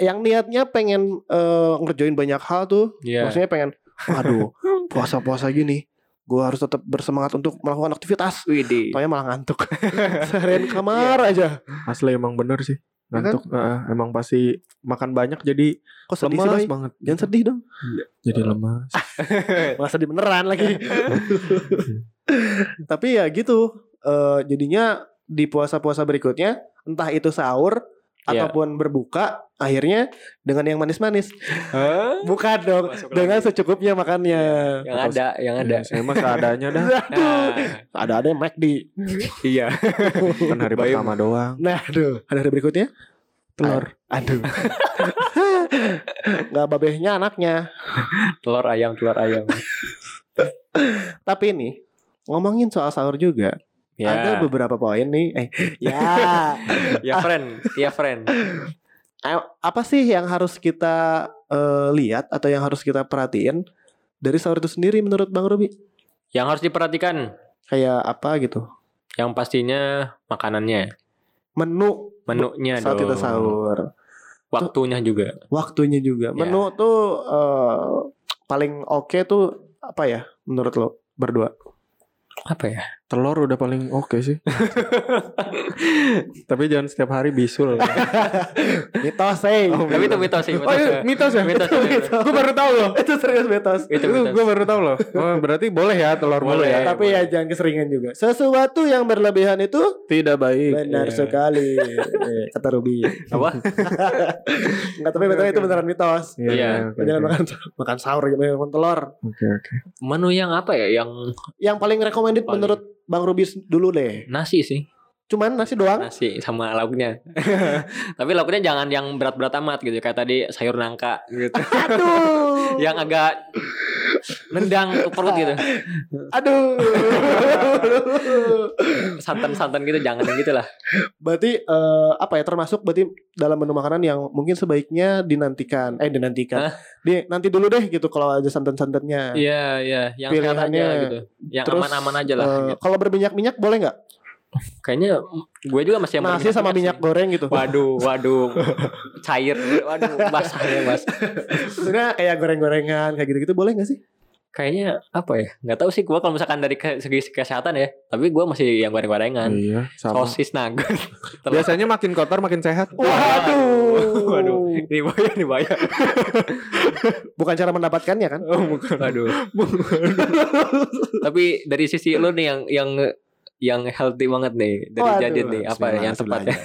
Yang niatnya pengen eh, Ngerjain banyak hal tuh
Iya.
Maksudnya pengen Waduh Puasa-puasa gini Gue harus tetap bersemangat Untuk melakukan aktivitas
Widih.
Pokoknya malah ngantuk Seharian kamar
Iya.
aja
Asli emang bener
Iya
sih.
Ya kan?
Ngantuk eh, emang pasti makan banyak jadi
Kok sedih sih
lemas
Bay?
banget.
Jangan sedih dong
Jadi lemas.
Malah sedih beneran lagi Tapi ya gitu Eh, Jadinya Di puasa-puasa berikutnya Entah itu sahur
Iya.
Ataupun berbuka Akhirnya Dengan yang manis-manis
Hah?
Bukan dong,
Masuk
dengan
lagi. Iya,
secukupnya makannya.
Yang ada, yang ada.
Ada. saya mah Iya, seadanya dah.
Aduh,
Nah,
ada-ada yang McD.
iya.
Kan hari
Bayu.
pertama doang.
Nah, aduh, ada hari berikutnya
Telur.
A- Aduh. Gak babehnya anaknya.
Telur ayam, telur ayam.
Tapi ini ngomongin soal sahur juga,
Ya.
ada beberapa poin nih. Eh, ya.
Ya friend, ya friend.
A- Apa sih yang harus kita eh, lihat atau yang harus kita perhatiin dari sahur itu sendiri menurut Bang Ruby?
Yang harus diperhatikan,
Kayak apa gitu?
yang pastinya makanannya,
Menu
menunya Ya dong.
saat kita sahur.
Waktunya juga.
waktunya juga.
Ya.
Menu tuh eh, paling oke tuh apa ya menurut lo berdua?
Apa ya?
Telur udah paling oke sih. Tapi jangan setiap hari bisul.
Mitos eh.
Tapi Ya, itu mitos sih, mitos.
Oh, iya, mitos ya?
Mitos, Iya,
Itu
mitos.
mitos.
Gue baru tahu loh.
itu serius mitos.
Itu
Itu
mitos.
gue baru tahu loh. Oh, berarti boleh ya telur
iya, Boleh.
boleh. ya?
Tapi ya jangan keseringan juga. Sesuatu yang berlebihan itu
Tidak baik.
benar
Iya.
sekali Eh, kata Ruby.
Apa?
Enggak tapi betul itu beneran mitos.
Iya.
Iya.
oke,
Jangan
oke.
makan makan sahur gitu makan telur.
Oke oke.
Menu yang apa ya? Yang
Yang paling recommended
Paling.
menurut Bang Ruby dulu deh.
nasi sih.
Cuman nasi doang.
Nasi sama lauknya. Tapi lauknya jangan yang berat-berat amat gitu. Kayak tadi sayur nangka gitu.
Aduh.
yang agak nendang ke perut gitu.
Aduh.
Santan-santan gitu jangan yang gitu lah.
Berarti eh, apa ya termasuk berarti dalam menu makanan yang mungkin sebaiknya dinantikan eh dinantikan. Di nanti dulu deh gitu kalau ada santan-santannya.
Iya, iya, yang sehat aja
Pilihannya.
gitu. Yang
Terus,
aman-aman aja lah.
eh,
gitu.
Kalau berminyak-minyak boleh nggak?
Kayaknya gue juga masih yang
Nasi sama
sih.
minyak goreng gitu.
Waduh, waduh. Cair. Waduh, basah ya, Mas.
Maksudnya kayak goreng-gorengan kayak gitu-gitu boleh nggak sih?
Kayaknya apa ya? Nggak tahu sih gue kalau misalkan dari ke- segi kesehatan ya. Tapi gue masih yang
Hmm,
goreng-gorengan.
Iya. Sama.
Sosis nugget. Telur.
Biasanya makin kotor makin sehat.
Waduh.
Waduh. Ini bahaya, ini bahaya.
Bukan cara mendapatkannya kan?
Oh, bukan. Aduh. Tapi dari sisi lu nih yang yang yang healthy banget nih dari
Waduh.
jadid nih apa
Bismillah,
yang tepat ya?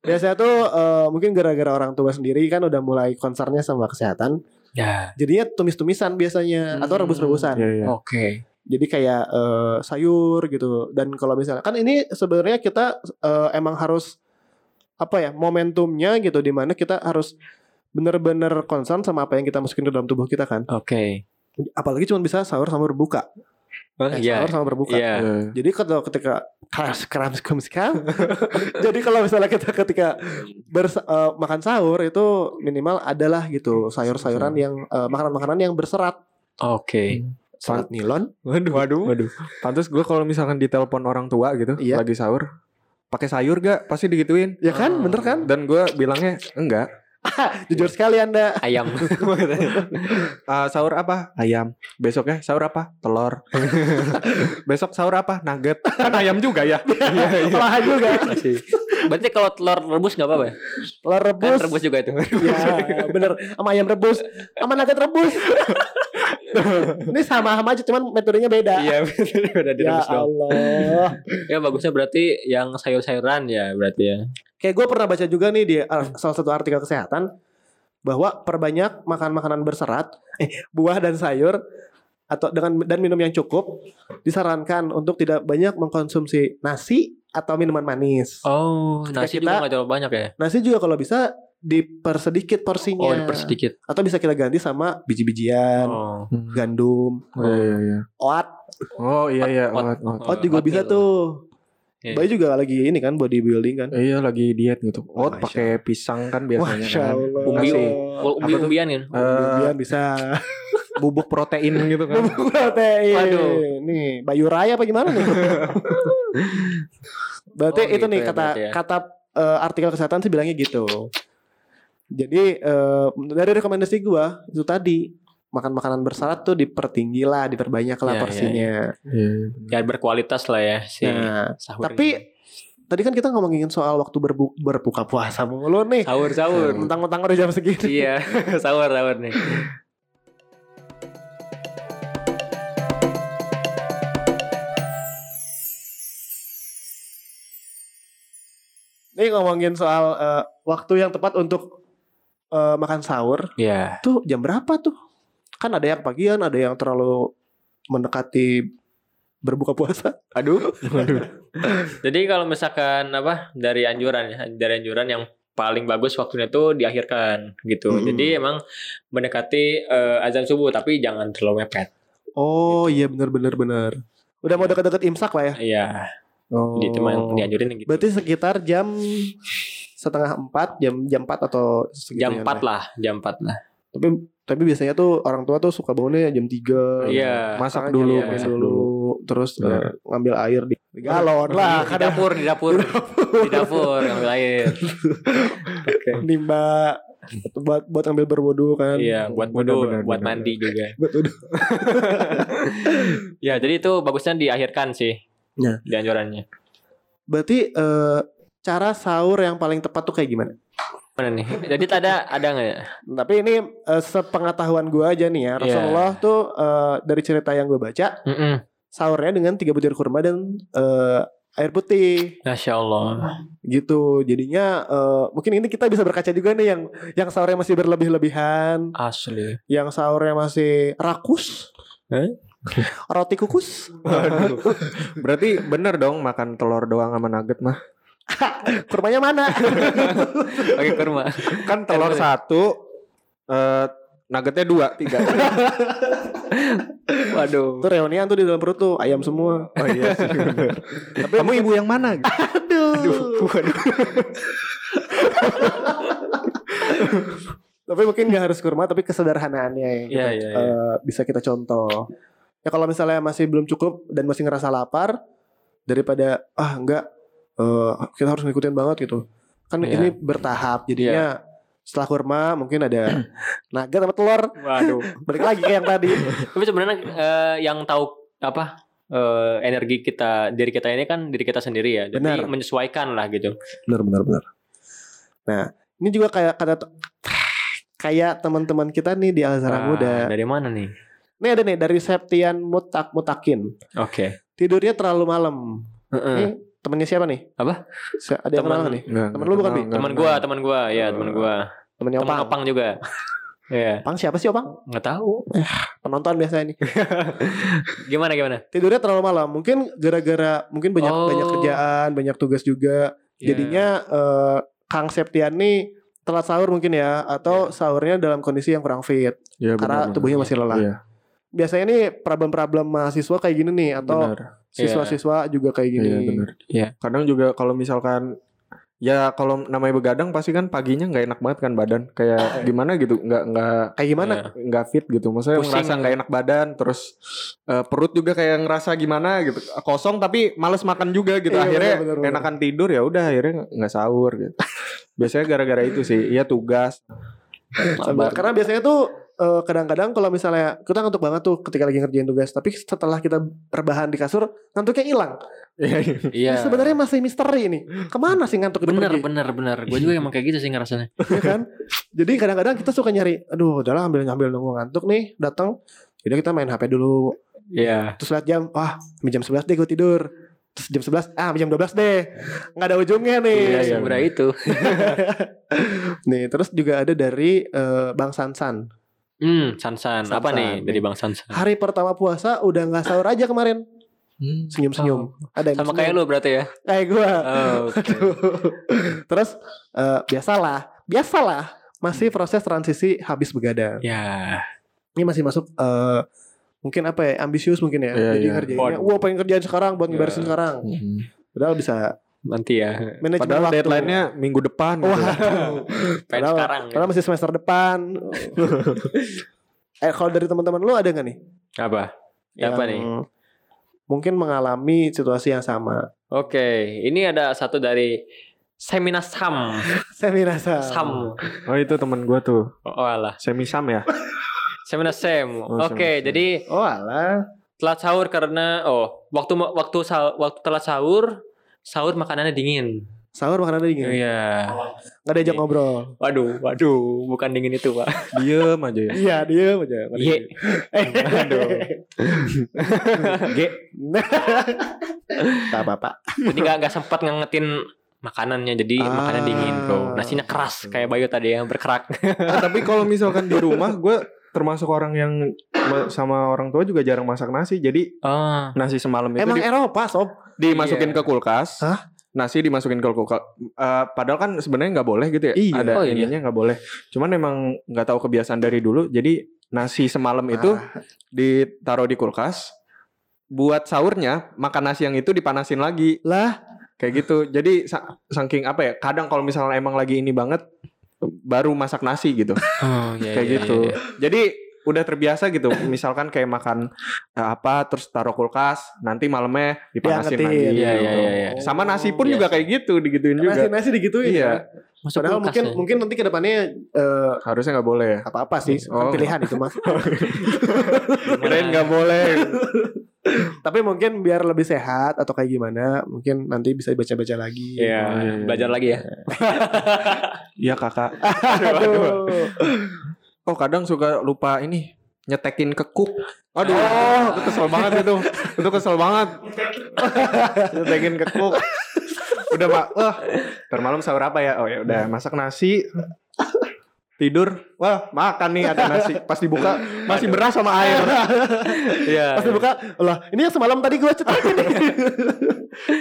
Biasanya tuh eh, mungkin gara-gara orang tua sendiri kan udah mulai concernnya sama kesehatan.
Ya.
Jadinya tumis-tumisan biasanya atau
Hmm.
rebus-rebusan.
Iya iya.
Oke.
jadi kayak eh, sayur gitu dan kalau misalnya kan ini sebenarnya kita eh, emang harus apa ya momentumnya gitu dimana kita harus bener-bener concern sama apa yang kita masukin ke dalam tubuh kita kan.
Oke.
Apalagi cuma bisa sahur sama berbuka.
Oh,
Eh,
Iya.
Sahur sama berbuka.
Iya.
Eh,
Jadi kalau ketika keras keras keras keras. Jadi kalau misalnya kita ketika bersa- eh, makan sahur itu minimal adalah gitu sayur-sayuran yang eh, makanan-makanan yang berserat,
Oke.
serat nilon.
Waduh. Waduh. Pantas gue kalau misalkan ditelepon orang tua gitu
Iya.
lagi sahur, pakai sayur gak? Pasti digituin.
Ya kan, bener kan?
Dan gue bilangnya enggak.
Jujur sekali Anda.
Ayam.
Ah, sahur apa? Ayam. Besoknya sahur apa? Telur. Besok sahur apa? Nugget. Kan ayam juga ya. Iya, iya.
Olahan juga.
Berarti kalau telur rebus nggak apa-apa? ya?
Telur
Kan
rebus.
rebus juga itu.
Ya, bener. Sama ayam rebus, sama nugget rebus. Ini sama-sama aja, cuman metodenya beda.
Iya, betul. udah
ya
direbus dong.
Allah.
Ya bagusnya berarti yang sayur-sayuran ya berarti ya.
Kayak gue pernah baca juga nih di
Hmm.
ar- salah satu artikel kesehatan bahwa perbanyak makan makanan berserat, eh, buah dan sayur atau dengan dan minum yang cukup disarankan untuk tidak banyak mengkonsumsi nasi atau minuman manis.
Oh, nasi
kita- Iya.
juga nggak terlalu banyak ya?
Nasi juga kalau bisa dipersedikit
Oh,
porsinya.
dipersedikit.
Atau bisa kita ganti sama biji-bijian,
Oh.
gandum,
Oh iya iya.
oat.
Oh iya iya.
Ot-
Oat, oat.
Oat juga
oat
bisa
gitu.
tuh.
Iya.
Bayu juga lagi ini kan bodybuilding kan.
Iya lagi diet gitu.
Oh,
Oat
Masya
pakai pisang kan biasanya
Masya
kan.
Allah.
Umbi,
Nasi.
umbi, umbian kan?
Eh,
Biar bisa
bubuk protein gitu kan.
bubuk protein.
Waduh.
iya, Nih, Bayu Raya apa gimana nih? berarti
Oh,
itu
gitu
nih
ya,
kata
berarti ya.
kata eh, artikel kesehatan sih bilangnya gitu. Jadi eh, dari rekomendasi gua itu tadi makan makanan berserat tuh dipertinggi lah, diperbanyak lah
Ya, ya,
porsinya.
Iya.
Ya berkualitas lah ya si
Nah,
sahur.
tapi tadi kan kita ngomongin soal waktu berbu- berbuka puasa mulu nih.
sahur sahur.
Mentang-mentang udah jam segini.
iya, sahur sahur nih.
Ini ngomongin soal eh, waktu yang tepat untuk eh, makan sahur
Iya.
tuh jam berapa tuh? Kan ada yang pagian, ada yang terlalu mendekati berbuka puasa.
Aduh. Aduh.
Jadi kalau misalkan apa dari anjuran ya, dari anjuran yang paling bagus waktunya itu diakhirkan gitu.
Mm-mm.
Jadi emang mendekati eh, azan subuh tapi jangan terlalu mepet.
Oh iya bener-bener bener. Udah mau deket-deket imsak lah ya.
Iya,
Oh.
jadi itu emang dianjurin gitu.
Berarti sekitar jam setengah empat, jam jam empat atau segitu
jam 4 lah, jam 4 lah.
Tapi tapi biasanya tuh orang tua tuh suka bangunnya jam tiga.
Iya.
Masak
Makan
dulu,
jam
masak
dulu. Terus eh,
Bener.
ngambil air di di galon lah.
di
Kadang
dapur, di dapur. di dapur yang lain. Oke.
nimba buat buat ambil berwudu kan.
Iya, buat bodoh,
Benar, benar,
buat
benar,
mandi juga.
Buat wudu.
Ya, jadi itu bagusnya diakhirkan sih.
Ya.
Di anjurannya.
Berarti eh, cara sahur yang paling tepat tuh kayak gimana?
Mana nih? Jadi ada ada nggak ya?
Tapi ini eh, sepengetahuan gue aja nih ya. Rasulullah tuh eh, dari cerita yang gue baca
Mm-mm.
sahurnya dengan tiga butir kurma dan eh, air putih
Masya Allah.
gitu. Jadinya eh, mungkin ini kita bisa berkaca juga nih yang yang sahurnya masih berlebih-lebihan,
Asli.
yang sahurnya masih rakus.
Eh?
Roti kukus,
Berarti bener dong makan telur doang sama nugget mah.
kurmanya mana?
Pakai kurma.
Kan telur
Telur.
satu, eh nuggetnya dua, tiga.
Waduh.
tuh reunian tuh di dalam perut tuh ayam semua.
Oh iya sih. Tapi Kamu ibu yang mana?
Aduh. tapi mungkin nggak harus kurma tapi kesederhanaannya yang
Iya,
kita,
iya,
eh, bisa kita contoh ya kalau misalnya masih belum cukup dan masih ngerasa lapar daripada ah enggak eh, kita harus ngikutin banget gitu kan
Iya.
ini bertahap jadinya setelah kurma mungkin ada nugget sama telur
Waduh.
balik lagi ke yang tadi
Tapi sebenarnya eh, yang tahu apa eh, energi kita diri kita ini kan diri kita sendiri ya. Jadi
Benar.
menyesuaikan lah gitu.
benar benar benar nah ini juga kayak kata kayak teman-teman kita nih di Alzara
Wah,
Muda
Ah, Dari mana nih?
ini ada nih dari Septian Mutak Mutakin
Oke.
tidurnya terlalu malam
Heeh.
Ini temennya siapa nih?
Apa?
Se- Ada yang
Temen-
kenal nggak nih?
Enggak,
Temen lu bukan, Bi?
Teman gua, teman gua, ya teman gua.
Temennya
Teman
Opang. Opang.
Opang juga. Iya,
siapa sih Opang?
nggak tahu.
Penonton biasanya nih.
Gimana gimana?
Tidurnya terlalu malam. Mungkin gara-gara mungkin banyak
Oh.
Iya.
banyak kerjaan, banyak tugas juga. Jadinya eh, Kang Septian nih telat sahur mungkin ya atau sahurnya dalam kondisi yang kurang fit. Karena
Ya, Iya. benar-benar.
tubuhnya masih lelah.
Iya,
Biasanya nih problem-problem mahasiswa kayak gini nih atau
benar.
siswa-siswa juga kayak gini.
Iya, benar.
ya.
Iya.
Kadang juga kalau misalkan ya kalau namanya begadang pasti kan paginya nggak enak banget kan badan
Eh.
kayak gimana gitu nggak nggak
Kayak gimana?
Iya.
nggak fit gitu maksudnya
Pusing.
ngerasa
ya.
nggak enak badan terus eh, perut juga kayak ngerasa gimana gitu kosong tapi males makan juga gitu
Iya,
akhirnya
benar, benar, benar.
enakan tidur ya udah akhirnya nggak sahur gitu biasanya gara-gara itu sih ya tugas
Sambil- Karena biasanya tuh eh, kadang-kadang kalau misalnya kita ngantuk banget tuh ketika lagi ngerjain tugas, tapi setelah kita rebahan di kasur ngantuknya hilang.
Iya,
Iya.
Ini Sebenarnya masih misteri nih. Kemana sih ngantuk itu
bener
pergi?
bener bener. Gue juga emang kayak gitu sih ngerasanya.
ya kan? Jadi kadang-kadang kita suka nyari, aduh udahlah ambil ngambil nunggu ngantuk nih, datang, jadi kita main HP dulu,
Iya.
terus lihat jam, wah sampai jam 11 deh gue tidur. Terus jam 11, ah sampai jam 12 deh. Nggak ada ujungnya nih.
Iya, iya.
Sebenernya itu.
Nih, terus juga ada dari eh, Bang Sansan.
Hmm, Sansan. Apa
Sansan,
nih dari Bang Sansan?
Hari pertama puasa udah nggak sahur aja kemarin. Senyum-senyum. Ada yang
Sama kayak lu berarti ya.
Kayak gue.
Oh, oke.
terus eh, biasalah, biasalah masih proses transisi habis begadang.
Ya.
ini masih masuk eh mungkin apa ya ambisius mungkin ya
Iya,
jadi
iya.
ngerjainnya
Bon.
wah pengen kerjaan sekarang buat
Iya.
ngeberesin sekarang padahal bisa
Nanti ya.
manajemen
padahal
Hmm. waktu.
deadline-nya minggu depan gitu.
wah
Pengen
padahal,
sekarang.
padahal masih semester depan eh kalau dari teman-teman lu ada nggak nih
Apa? Ya, Apa nih?
mungkin mengalami situasi yang sama
Oke, ini ada satu dari Semina Sam.
saya merasa
Sam.
oh itu teman gua tuh
Oh, oh alah.
semi sam ya
Semina Sam.
Oh, Semina
Oke,
Sam.
jadi
oh alah
telat sahur karena oh, waktu waktu sa- waktu telat sahur, sahur makanannya dingin.
sahur makanannya
Iya.
dingin nggak diajak ngobrol
Waduh, waduh, bukan dingin itu, Pak.
diem aja ya
iya dia aja nggak
Iya.
diajak. aduh
Ge.
tak apa-apa
Jadi nggak nggak sempat ngangetin makanannya jadi
Ah.
makanan dingin bro nasinya keras kayak Bayu tadi yang berkerak
Ah, tapi kalau misalkan di rumah gue termasuk orang yang ma- sama orang tua juga jarang masak nasi jadi
Ah.
oh
nasi semalam itu
emang
di-
Eropa sob
Iya.
dimasukin ke kulkas
Hah?
nasi dimasukin ke kulkas Eh, padahal kan sebenarnya nggak boleh gitu ya
Iya.
ada
Oh, iya.
ininya nggak boleh cuman emang nggak tahu kebiasaan dari dulu jadi nasi semalam
Ah.
itu ditaruh di kulkas buat sahurnya makan nasi yang itu dipanasin lagi
lah
kayak gitu jadi sa- saking apa ya kadang kalau misalnya emang lagi ini banget baru masak nasi gitu
oh iya
kayak
iya,
gitu.
iya, iya.
Jadi udah terbiasa gitu. Misalkan kayak makan eh, apa terus taruh kulkas, nanti malamnya dipanasin
Diangetin.
lagi.
Iya,
gitu.
iya, iya, iya.
Sama nasi pun
Biasa.
juga kayak gitu, digituin juga.
nasi nasi digituin ya
Iya.
Masuk
Padahal
kulkas
mungkin
ya.
mungkin nanti kedepannya eh
Harusnya nggak boleh ya.
apa apa sih kan
Oh.
pilihan itu mah.
Kirain nggak boleh.
Tapi mungkin biar lebih sehat atau kayak gimana, mungkin nanti bisa dibaca-baca lagi.
Iya,
Oh, iya, iya.
belajar lagi ya.
Iya kakak.
Aduh.
Oh kadang suka lupa ini nyetekin ke kuk. Aduh,
Ah.
itu kesel banget itu. Itu kesel banget. nyetekin ke kuk. Udah pak, wah, ntar malam sahur apa ya? Oh ya udah masak nasi. Tidur, wah makan nih ada nasi. Pas dibuka masih beras sama air.
Iya.
Pas dibuka, lah ini yang semalam tadi gue cetakin nih.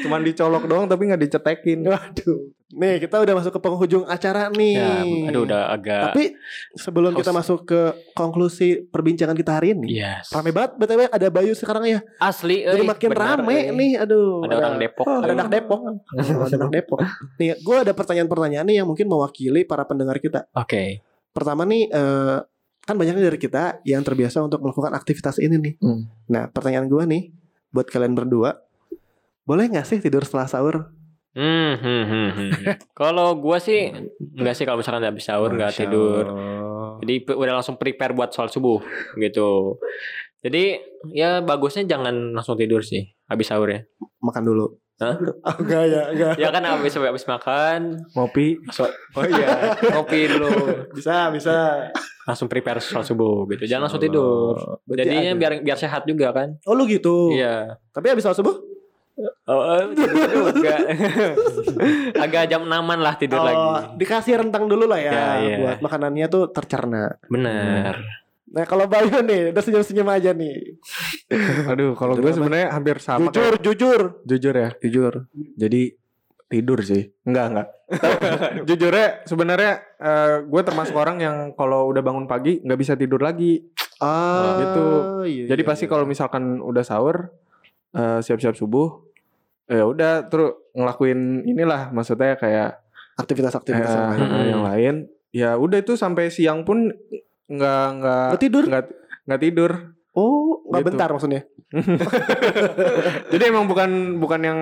Cuman dicolok doang tapi nggak dicetekin.
Waduh. Nih kita udah masuk ke penghujung acara nih.
Ya, aduh udah agak
Tapi sebelum kita
Haus.
masuk ke konklusi perbincangan kita hari ini,
Yes.
rame banget btw ada Bayu sekarang ya.
Asli
Jadi
euy,
makin
benar,
rame
euy.
nih, aduh.
Ada orang Depok.
Ada anak Depok. ada anak Depok. Nih, gue ada pertanyaan-pertanyaan nih yang mungkin mewakili para pendengar kita.
Oke.
Pertama nih, eh, kan banyaknya dari kita yang terbiasa untuk melakukan aktivitas ini nih.
Hmm.
Nah, pertanyaan gue nih, buat kalian berdua, boleh nggak sih tidur setelah sahur?
Hmm, hmm, hmm, hmm. Kalau gua sih enggak sih kalau misalkan habis sahur enggak
Masya
tidur.
Allah.
Jadi pe- udah langsung prepare buat soal subuh gitu. Jadi ya bagusnya jangan langsung tidur sih habis sahur ya.
Makan dulu.
Hah?
Oh, enggak ya, enggak.
Ya kan habis habis makan,
Ngopi.
so- oh iya, ngopi dulu,
Bisa, bisa.
langsung prepare soal subuh gitu. Jangan langsung tidur.
Berarti
Jadinya
ada.
biar biar sehat juga kan.
Oh lu gitu.
Iya.
Tapi habis sahur subuh?
Oh, eh, juga. Agak jam enaman lah tidur
oh,
lagi.
Dikasih rentang dulu lah ya,
Ya, iya.
buat makanannya tuh tercerna.
Bener.
Nah kalau Bayu nih udah senyum-senyum aja nih.
Aduh, kalau gue sebenarnya hampir sama.
Jujur,
kayak-
jujur,
jujur ya.
jujur.
Jadi tidur sih. Enggak, enggak. Tapi, Jujurnya sebenarnya eh, gue termasuk orang yang kalau udah bangun pagi nggak bisa tidur lagi.
Ah,
gitu.
iya,
Jadi
iya, iya.
pasti kalau misalkan udah sahur eh, siap-siap subuh ya udah terus ngelakuin inilah maksudnya kayak eh,
aktivitas-aktivitas yang lain.
Mm-mm.
yang lain. Ya udah itu sampai siang pun nggak nggak
Nggak tidur?
nggak nggak tidur.
Oh, nggak
Gitu.
bentar maksudnya.
Jadi emang bukan bukan yang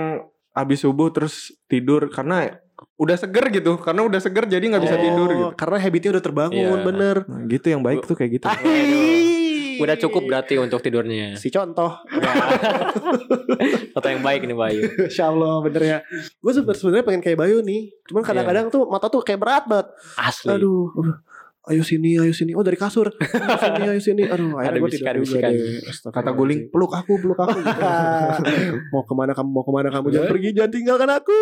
habis subuh terus tidur karena udah seger gitu karena udah seger jadi nggak bisa
Oh,
tidur gitu
Karena habitnya udah terbangun,
Iya.
bener.
Nah, gitu yang baik tuh kayak gitu
Aih.
Udah cukup berarti untuk
Iya.
tidurnya.
Si contoh,
Atau Ya. yang baik nih Bayu.
Insya Allah bener ya. Gue sebenarnya pengen kayak Bayu nih, cuman
Iya.
kadang-kadang tuh mata tuh kayak berat banget.
Asli.
Aduh, aduh. ayo sini, ayo sini. Oh dari kasur, ayo sini, ayo sini. Aduh,
Ada
akhirnya gue tidur juga
bisikan-bisikan.
deh. Astagfirullahaladzim.
kata guling peluk aku peluk aku
mau kemana kamu, mau kemana kamu? Jangan pergi, jangan tinggalkan aku.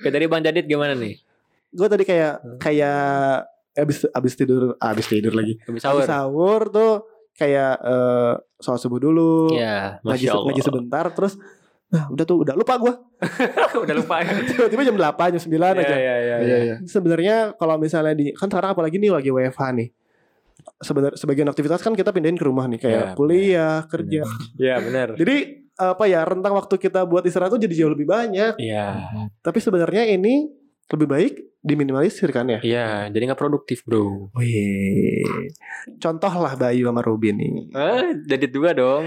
Kayak tadi Bang Jadid gimana nih?
Gue tadi kayak kayak eh, abis abis tidur, abis tidur lagi.
Habis sahur.
Abis sahur tuh kayak eh soal subuh dulu.
Iya,
ngaji,
Masya Allah.
ngaji sebentar terus nah udah tuh udah lupa gue
Udah lupa. ya.
tiba-tiba jam 8 jam 9
Iya,
aja
iya, iya.
iya iya
sebenarnya kalau misalnya di kan sekarang apalagi nih lagi WFH nih Sebenar, sebagian aktivitas kan kita pindahin ke rumah nih kayak
Ya,
kuliah kerja
Iya, benar.
jadi apa ya rentang waktu kita buat istirahat tuh jadi jauh lebih banyak
Iya.
tapi sebenarnya ini lebih baik diminimalisir kan ya
Iya, jadi nggak produktif, Bro.
Wih. Contohlah Bayu sama Ruby nih.
Eh, Jadid juga dong.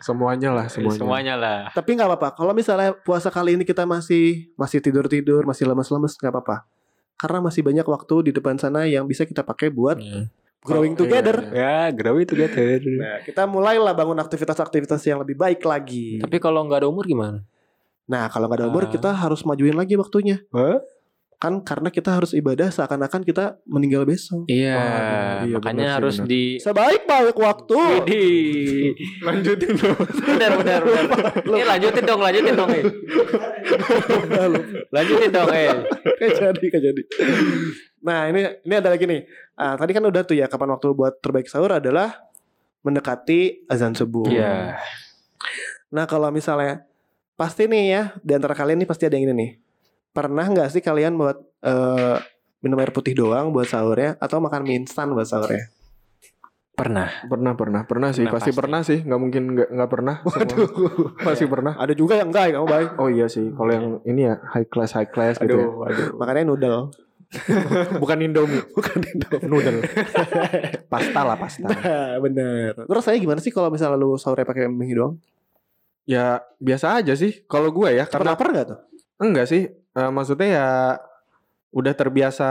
semuanya lah semuanya,
Iya, Semuanya lah.
Tapi nggak apa-apa. Kalau misalnya puasa kali ini kita masih masih tidur tidur, masih lemes lemes, nggak apa-apa. Karena masih banyak waktu di depan sana yang bisa kita pakai buat
Iya,
growing
Oh,
together.
Ya, growing together.
Nah, kita mulailah bangun aktivitas-aktivitas yang lebih baik lagi.
Tapi kalau nggak ada umur gimana?
Nah, kalau nggak ada
Ah.
umur kita harus majuin lagi waktunya. Kan karena kita harus ibadah seakan-akan kita meninggal besok.
Iya,
Waduh, iya,
makanya
benar sih,
harus
benar.
di
Sebaik-baik waktu.
Iya. Widih.
lanjutin dong
Benar, benar, benar. Ini lanjutin dong, lanjutin dong, eh. Lanjutin dong, eh.
Kayak jadi, kayak jadi. Nah, ini ini ada lagi nih. Ah, tadi kan udah tuh ya kapan waktu buat terbaik sahur adalah mendekati azan subuh.
Iya.
Nah kalau misalnya pasti nih ya di antara kalian nih pasti ada yang ini nih. Pernah nggak sih kalian buat eh, minum air putih doang buat sahurnya atau makan mie instan buat sahurnya?
Pernah.
pernah pernah pernah sih
Pernah,
pasti,
pasti.
pernah sih nggak mungkin nggak nggak pernah Semua. pasti pernah
Ada juga yang enggak ya kamu baik.
oh iya sih kalau yang ini ya high class high class gitu ya.
aduh.
Makannya noodle.
bukan indomie bukan indomie noodle pasta lah pasta
Nah, bener. Terus saya gimana sih kalau misalnya lu sahurnya pakai mie doang?
ya biasa aja sih kalau gue ya
Cepet
karena
lapar nggak tuh?
Enggak sih, Eh, maksudnya ya udah terbiasa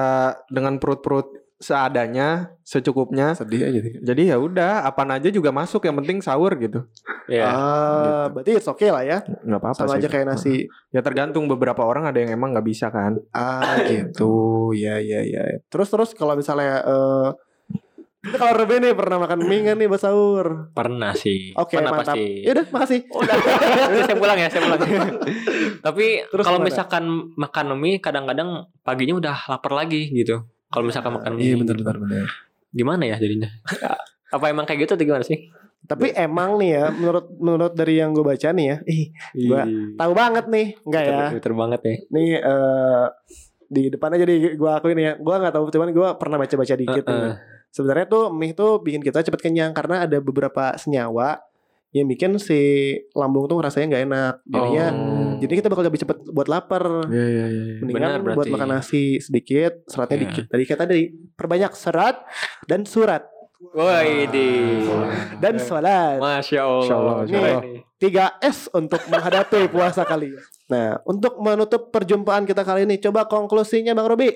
dengan perut-perut seadanya, secukupnya.
Sedih aja nih.
Jadi ya udah, apaan aja juga masuk, yang penting sahur gitu.
Iya.
Ah, berarti it's okay lah ya.
Enggak apa-apa
Sama
sih.
aja kayak nasi.
Ya tergantung beberapa orang ada yang emang nggak bisa kan.
Ah, gitu. Ya, ya, ya. Terus terus kalau misalnya eh ini kalau Rebe nih pernah makan mie nggak nih buat sahur?
Pernah sih.
Oke,
Pernah
mantap.
pasti.
Ya udah, makasih.
Udah, udah, saya pulang ya, saya pulang. Tapi
Terus
kalau
gimana?
misalkan makan mie, kadang-kadang paginya udah lapar lagi gitu. Kalau misalkan makan mie, gitu.
Iya benar benar benar.
gimana ya jadinya? Apa emang kayak gitu atau gimana sih?
Tapi emang nih ya menurut menurut dari yang gue baca nih ya, ih Gua- tahu banget nih, enggak ya?
Pinter banget ya.
Nih eh di depan aja deh gue akuin ya, gue nggak tahu cuman gue pernah baca baca dikit.
Eh, eh.
nih. Sebenarnya tuh mie tuh bikin kita cepet kenyang karena ada beberapa senyawa yang bikin si lambung tuh rasanya nggak enak. Jadinya
Oh.
jadi kita bakal lebih cepet buat lapar.
Iya iya iya.
Mendingan
Benar,
buat
berarti.
makan nasi sedikit, seratnya
Iya.
dikit. Tadi kata tadi perbanyak serat dan surat
Woi di.
dan
Iya.
sholat.
Masya Allah.
Masya Allah, Masya
Keren
Allah.
nih.
3S untuk menghadapi puasa kali. ini. Nah, untuk menutup perjumpaan kita kali ini, coba konklusinya Bang Robi.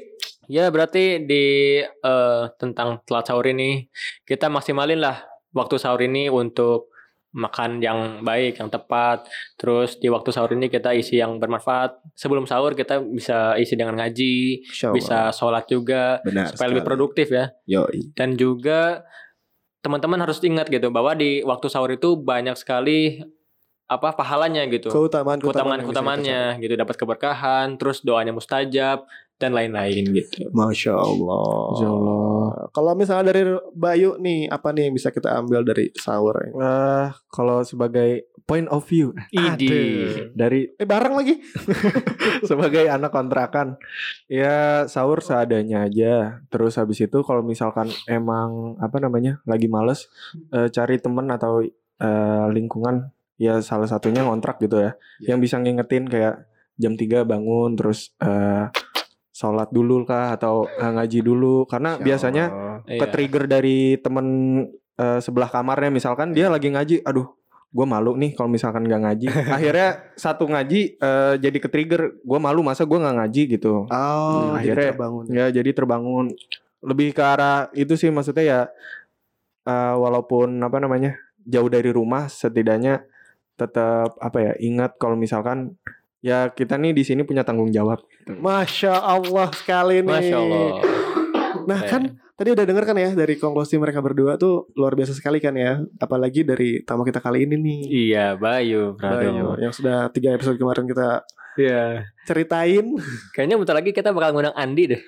Ya berarti di eh, tentang telat sahur ini kita maksimalin lah waktu sahur ini untuk makan yang baik, yang tepat. Terus di waktu sahur ini kita isi yang bermanfaat. Sebelum sahur kita bisa isi dengan ngaji, bisa sholat juga
Oh, benar.
supaya lebih produktif ya. Dan juga teman-teman harus ingat gitu bahwa di waktu sahur itu banyak sekali apa pahalanya gitu
Keutamaan
keutamaan keutamaannya gitu dapat keberkahan terus doanya mustajab dan lain-lain gitu
Masya Allah.
Insya Allah.
Kalau misalnya dari Bayu nih, apa nih yang bisa kita ambil dari sahur ini?
Eh, kalau sebagai point of view
Idi.
Aduh. dari
Eh bareng lagi.
sebagai anak kontrakan ya sahur seadanya aja terus habis itu kalau misalkan emang apa namanya lagi males eh, cari temen atau eh, lingkungan ya salah satunya ngontrak gitu ya yang bisa ngingetin kayak jam 3 bangun terus eh, sholat dulu kah atau eh, ngaji dulu karena biasanya
Iya.
ke trigger dari temen eh, sebelah kamarnya misalkan dia lagi ngaji aduh gue malu nih kalau misalkan gak ngaji akhirnya satu ngaji eh, jadi ke trigger gue malu masa gue nggak ngaji
Oh,
gitu
jadi
Hmm, akhirnya.
terbangun.
ya jadi terbangun lebih ke arah itu sih maksudnya ya eh, walaupun apa namanya jauh dari rumah setidaknya tetap apa ya ingat kalau misalkan ya kita nih di sini punya tanggung jawab
Masya Allah sekali nih.
Hmm. Masya Allah.
Nah
Keren.
kan tadi udah denger kan ya dari konklusi mereka berdua tuh luar biasa sekali kan ya. Apalagi dari tamu kita kali ini nih.
Iya, Bayu, Prado.
Bayu, Nah, yang sudah tiga episode kemarin kita
Iya.
ceritain.
Kayaknya bentar lagi kita bakal ngundang Andi deh.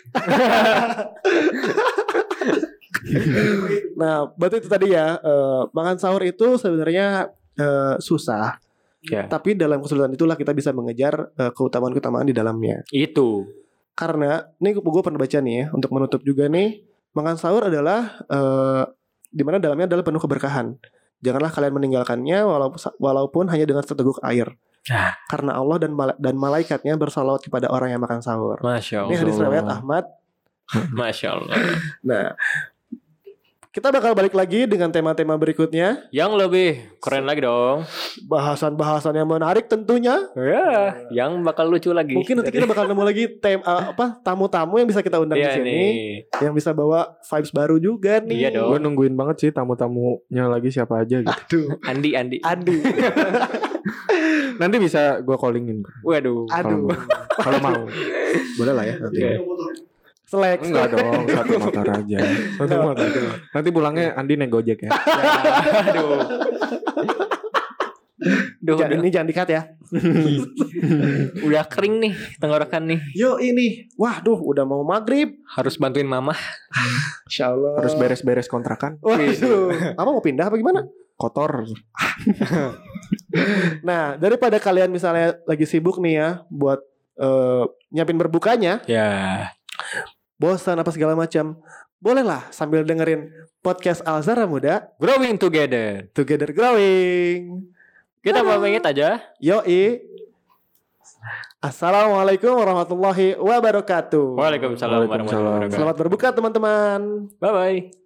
Nah, berarti itu tadi ya eh, makan sahur itu sebenarnya eh, susah,
Iya.
tapi dalam kesulitan itulah kita bisa mengejar eh, keutamaan-keutamaan di dalamnya.
Itu.
Karena ini gue pernah baca nih ya untuk menutup juga nih makan sahur adalah eh, di dimana dalamnya adalah penuh keberkahan. Janganlah kalian meninggalkannya walaupun, walaupun hanya dengan seteguk air.
Ah.
Karena Allah dan mala- dan malaikatnya bersalawat kepada orang yang makan sahur.
Masya
Ini hadis riwayat
Allah.
Ahmad
Masya Allah.
Nah, kita bakal balik lagi dengan tema-tema berikutnya,
Yang lebih keren lagi dong.
bahasan-bahasan yang menarik tentunya.
Ya, yang bakal lucu lagi.
Iya. Mungkin nanti kita bakal nemu lagi tem eh, apa tamu-tamu yang bisa kita undang
Iya
di sini,
nih.
yang bisa bawa vibes baru juga
Iya
nih.
dong.
gue nungguin banget sih tamu-tamunya lagi siapa aja gitu
Aduh,
Andi, Andi.
Andi,
nanti bisa gue callingin
Waduh.
aduh.
kalau mau
Boleh lah ya nanti.
Iya.
Selek.
Enggak dong, satu motor aja. Satu motor. Nanti pulangnya Andi naik Gojek
Nah.
ya.
Aduh. Duh,
Jangan-
udah,
ini jangan dikat ya.
udah kering nih tenggorokan nih.
Yo ini, waduh udah mau maghrib.
Harus bantuin mama.
Insya Allah.
Harus beres-beres kontrakan,
Waduh, apa mau pindah apa gimana?
kotor.
Nah, daripada kalian misalnya lagi sibuk nih ya buat eh, nyiapin berbukanya, Iya.
Ya.
bosan apa segala macam, bolehlah sambil dengerin podcast Alzara Muda
Growing together.
Together Growing.
Kita mau ingat aja.
Yoi. Assalamualaikum warahmatullahi wabarakatuh.
Waalaikumsalam warahmatullahi
Waalaikumsalam.
wabarakatuh.
Selamat berbuka teman-teman.
Bye bye.